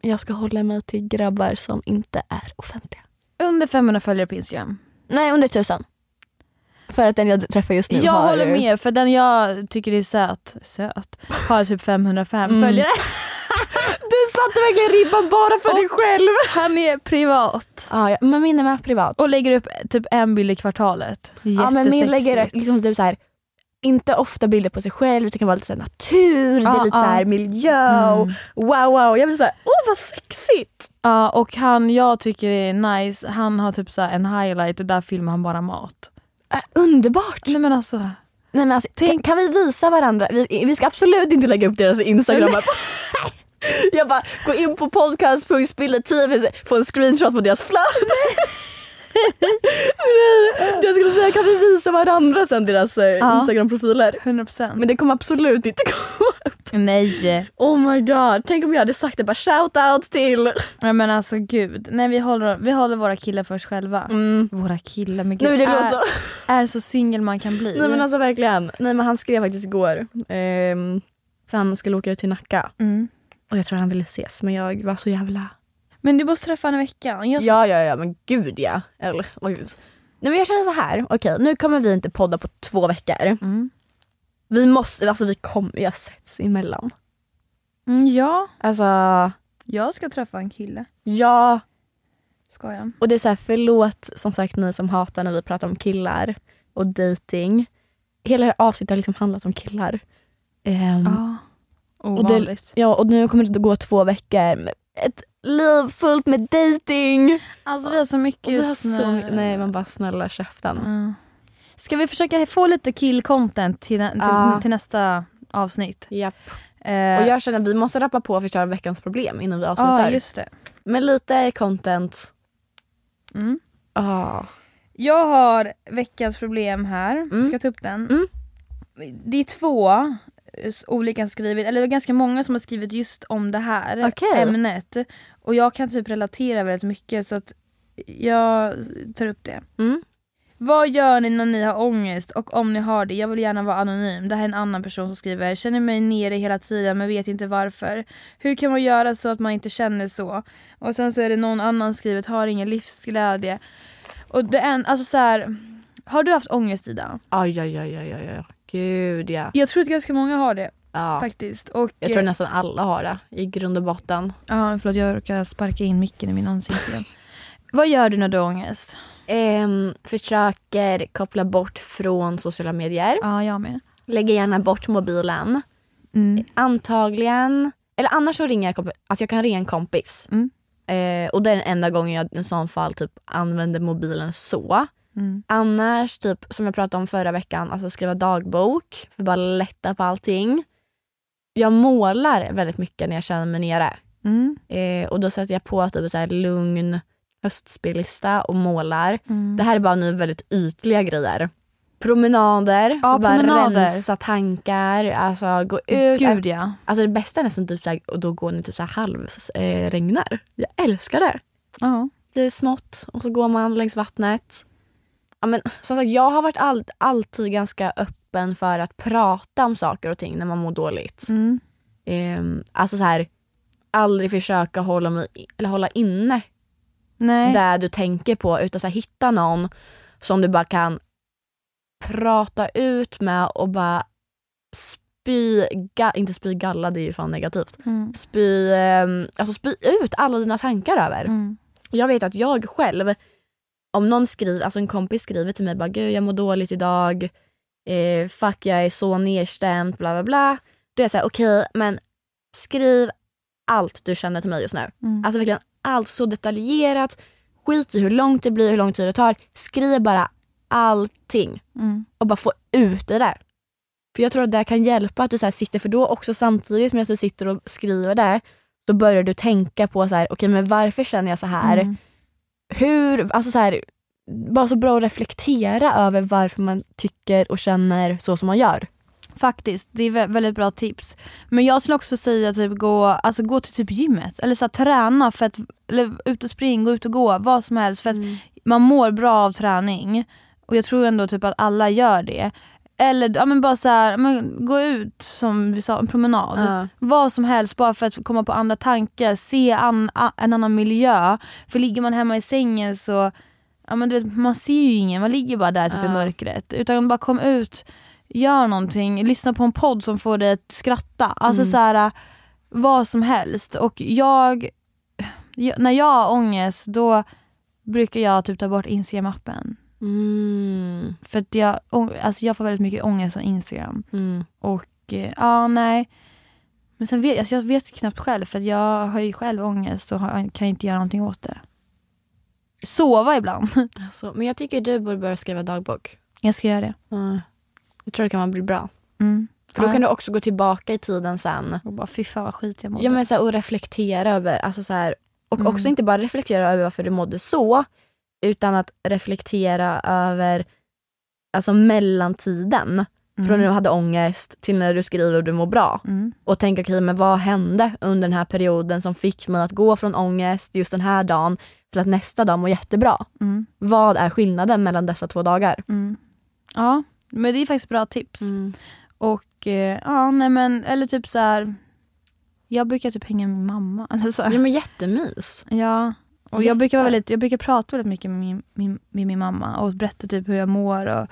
S2: jag ska hålla mig till grabbar som inte är offentliga.
S3: Under 500 följare på Instagram.
S2: Nej under tusen. För att den jag träffar just nu
S3: Jag
S2: har...
S3: håller med för den jag tycker är söt, söt har typ 505
S2: Mm.
S3: följare.
S2: Du satte verkligen ribban bara för dig själv.
S3: Han är privat
S2: Ja, ja, men min är med privat.
S3: och lägger upp typ en bild i kvartalet.
S2: ja, men min lägger
S3: Jättesexigt.
S2: liksom typ så här, inte ofta bilder på sig själv, det kan vara lite så här natur, det
S3: Ja,
S2: är lite så här
S3: ja.
S2: miljö och wow wow. Jag blir så här, åh vad sexigt!
S3: Ja, och han jag tycker är nice, han har typ så här en highlight och där filmar han bara mat.
S2: Äh, underbart!
S3: Nej men alltså,
S2: Nej, men alltså, kan, kan vi visa varandra? Vi, vi ska absolut inte lägga upp deras Instagram. Jag bara, gå in på podcast.spillet10 få en screenshot på deras flöde. Nej, jag skulle säga kan vi visa varandra sen deras eh,
S3: Ja.
S2: Instagram-profiler?
S3: 100%.
S2: Men det kommer absolut inte gå.
S3: Nej.
S2: Oh my god, tänk om jag hade sagt det bara shout out till.
S3: Nej men alltså gud. Nej vi håller, vi håller våra killar för oss själva.
S2: Mm.
S3: Våra killar, men gud.
S2: Nej, men det
S3: är,
S2: låter så.
S3: är så singel man kan bli.
S2: Äh, Nej men alltså verkligen. Nej men han skrev faktiskt igår. ehm, för han skulle åka ut till Nacka.
S3: mm.
S2: Och jag tror han ville ses men jag var så jävla
S3: men du måste träffa honom i veckan. Jag
S2: Ja, ja, ja, men gud ja. Eller, åh, gud. Nej, men jag känner så här, okej nu kommer vi inte podda på två veckor.
S3: Mm.
S2: Vi måste, alltså vi kommer ju ha setts emellan.
S3: Mm, ja.
S2: Alltså,
S3: Jag ska träffa en kille. Mm.
S2: ja.
S3: Ska jag?
S2: Och det är så här, förlåt som sagt ni som hatar när vi pratar om killar och dating. Hela det här avsnittet har liksom handlat om killar. Ehm,
S3: Ja.
S2: Ovanligt. Ja, och nu kommer det gå två veckor med ett liv fullt med dating.
S3: Alltså vi har så mycket
S2: Och vi har
S3: just
S2: så,
S3: nu.
S2: nej, man bara snälla käften.
S3: Ja. Ska vi försöka få lite kill-content till, till,
S2: Ja.
S3: till nästa avsnitt?
S2: Japp.
S3: Eh,
S2: Och jag känner att vi måste rappa på för att köra veckans problem innan vi
S3: ja,
S2: avslutar.
S3: just det.
S2: Men lite content.
S3: Mm.
S2: Ja.
S3: Jag har veckans problem här.
S2: Mm.
S3: Ska jag ta upp den?
S2: Mm.
S3: Det är två eh, olika har skrivit, eller det var ganska många som har skrivit just om det här
S2: Okej.
S3: ämnet. Och jag kan typ relatera väldigt mycket så att jag tar upp det.
S2: Mm.
S3: Vad gör ni när ni har ångest och om ni har det? Jag vill gärna vara anonym. Det här är en annan person som skriver. Känner mig nere hela tiden men vet inte varför. Hur kan man göra så att man inte känner så? Och sen så är det någon annan skrivet. Har ingen livsglädje. Och det är en, alltså så här, har du haft ångest Ida?
S2: Aj, aj, aj, aj, aj, aj. Gud ja.
S3: Jag tror att ganska många har det
S2: ja.
S3: faktiskt. Och, eh,
S2: Jag tror nästan alla har det i grund och botten.
S3: Ja, förlåt jag råkar sparka in micken i min ansikte igen. Vad gör du när du har ångest?
S2: Ehm, försöker koppla bort från sociala medier.
S3: Ja, jag med.
S2: Lägger gärna bort mobilen.
S3: Mm.
S2: Antagligen, eller annars så ringer jag komp- att jag kan ringa en kompis.
S3: Mm.
S2: Eh, och det är den enda gången jag i sån fall typ använder mobilen så.
S3: Mm.
S2: Annars, typ som jag pratade om förra veckan, alltså skriva dagbok för att bara lätta på allting. Jag målar väldigt mycket när jag känner mig nere.
S3: Mm.
S2: Eh, och då sätter jag på typ så här lugn höstspellista och målar.
S3: Mm.
S2: Det här är bara nu väldigt ytliga grejer. Promenader,
S3: Ja,
S2: och bara
S3: promenader.
S2: rensa tankar, alltså gå ut.
S3: Gud ja.
S2: Alltså det bästa är nästan typ så här, och då går ni typ så här halvregnar. Eh, regnar. jag älskar det.
S3: Ja.
S2: Det är smått och så går man längs vattnet. Ja, men, som sagt, jag har varit all, alltid ganska öppen för att prata om saker och ting när man mår dåligt.
S3: Mm.
S2: Ehm, alltså så här, aldrig försöka hålla, mig, eller hålla inne
S3: Nej.
S2: det du tänker på utan så här, hitta någon som du bara kan prata ut med och bara spy, ga, inte spy galla, det är ju fan negativt.
S3: Mm.
S2: Spy, ehm, alltså spy ut alla dina tankar över.
S3: Mm.
S2: Jag vet att jag själv, om någon skriver, alltså en kompis skriver till mig bara gud jag mår dåligt idag, eh, fuck jag är så nedstämd, bla bla bla. Då är jag såhär okej men skriv allt du känner till mig just nu.
S3: Mm.
S2: Alltså verkligen allt så detaljerat, skit i hur långt det blir, hur lång tid det tar. Skriv bara allting
S3: Mm.
S2: och bara få ut det där. För jag tror att det kan hjälpa att du så här sitter, för då också samtidigt medan du sitter och skriver det, då börjar du tänka på så här, okej men varför känner jag så här?
S3: Mm.
S2: hur, alltså så här, bara så bra att reflektera över varför man tycker och känner så som man gör.
S3: Faktiskt, det är vä- väldigt bra tips. Men jag skulle också säga typ gå, alltså, gå till typ gymmet eller så här, träna, för att, eller ut och spring, gå ut och gå, vad som helst. För att man mår bra av träning och jag tror ändå typ att alla gör det. Eller ja, men bara så här, men, gå ut som vi sa, en promenad.
S2: Ja.
S3: Vad som helst bara för att komma på andra tankar, se an, a, en annan miljö. För ligger man hemma i sängen så, ja, men du vet, man ser ju ingen, man ligger bara där typ i
S2: Ja.
S3: mörkret. Utan bara kom ut, gör någonting, lyssna på en podd som får dig att skratta. Alltså
S2: Mm.
S3: så här, vad som helst. Och jag, jag, när jag har ångest då brukar jag typ ta bort Instagram-appen.
S2: Mm.
S3: För att jag, ång- alltså jag får väldigt mycket ångest av Instagram.
S2: Mm.
S3: Och eh, ja, nej. Men sen vet, alltså jag vet knappt själv för att jag har ju själv ångest och har, kan inte göra någonting åt det. Sova ibland.
S2: Alltså, men jag tycker du borde börja skriva dagbok.
S3: Jag ska göra det.
S2: Jag tror det kan bli bra.
S3: Mm.
S2: För då
S3: Ja.
S2: kan du också gå tillbaka i tiden sen
S3: Och bara fy fan vad skit jag mådde.
S2: ja, men så här, och reflektera över, alltså så här, och
S3: Mm.
S2: också inte bara reflektera över varför du mådde så, utan att reflektera över alltså mellantiden. Från när du hade ångest till när du skriver och du mår bra.
S3: Mm.
S2: och tänka okej men vad hände under den här perioden som fick mig att gå från ångest just den här dagen till att nästa dag må jättebra.
S3: Mm.
S2: Vad är skillnaden mellan dessa två dagar?
S3: Mm. Ja, men det är faktiskt bra tips.
S2: Mm.
S3: Och eh, ja, nej men eller typ så här. Jag brukar typ hänga med min mamma. Eller så här.
S2: Ja men jättemys.
S3: Ja. Och jag, brukar vara
S2: Jätte.
S3: väldigt, jag brukar prata väldigt mycket med min, min, med min mamma och berätta typ hur jag mår och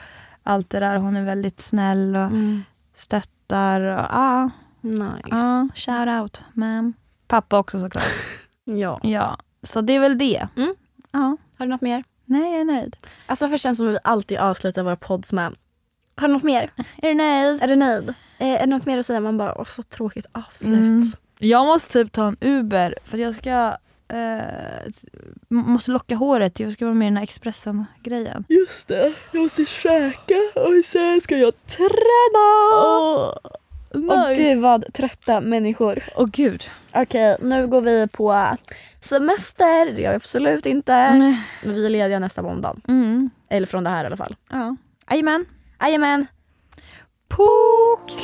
S3: allt det där. Hon är väldigt snäll och
S2: Mm.
S3: stöttar. Och, ah, ja,
S2: Nice.
S3: ja, shout out ma'am. Pappa också såklart.
S2: Ja.
S3: ja, så det är väl det.
S2: Mm.
S3: Ja,
S2: Har du något mer?
S3: nej jag är nöjd.
S2: Alltså varför känns det som att vi alltid avslutar våra pods med Har du något mer?
S3: Är du nöjd?
S2: Är du nöjd? Eh, är det något mer att säga? Man bara, åh så tråkigt avslut.
S3: Mm. Jag måste typ ta en Uber för att jag ska eh, t- måste locka håret. Jag ska vara med i den här Expressen-grejen.
S2: Just det, jag måste käka och sen ska jag träna. Åh gud vad trötta människor.
S3: Åh gud.
S2: Okej, nu går vi på semester. Det gör vi absolut inte.
S3: Mm.
S2: Men vi är lediga nästa måndag.
S3: Mm.
S2: Eller från det här i alla fall.
S3: Ja. Jajamän.
S2: Jajamän!
S3: Pok!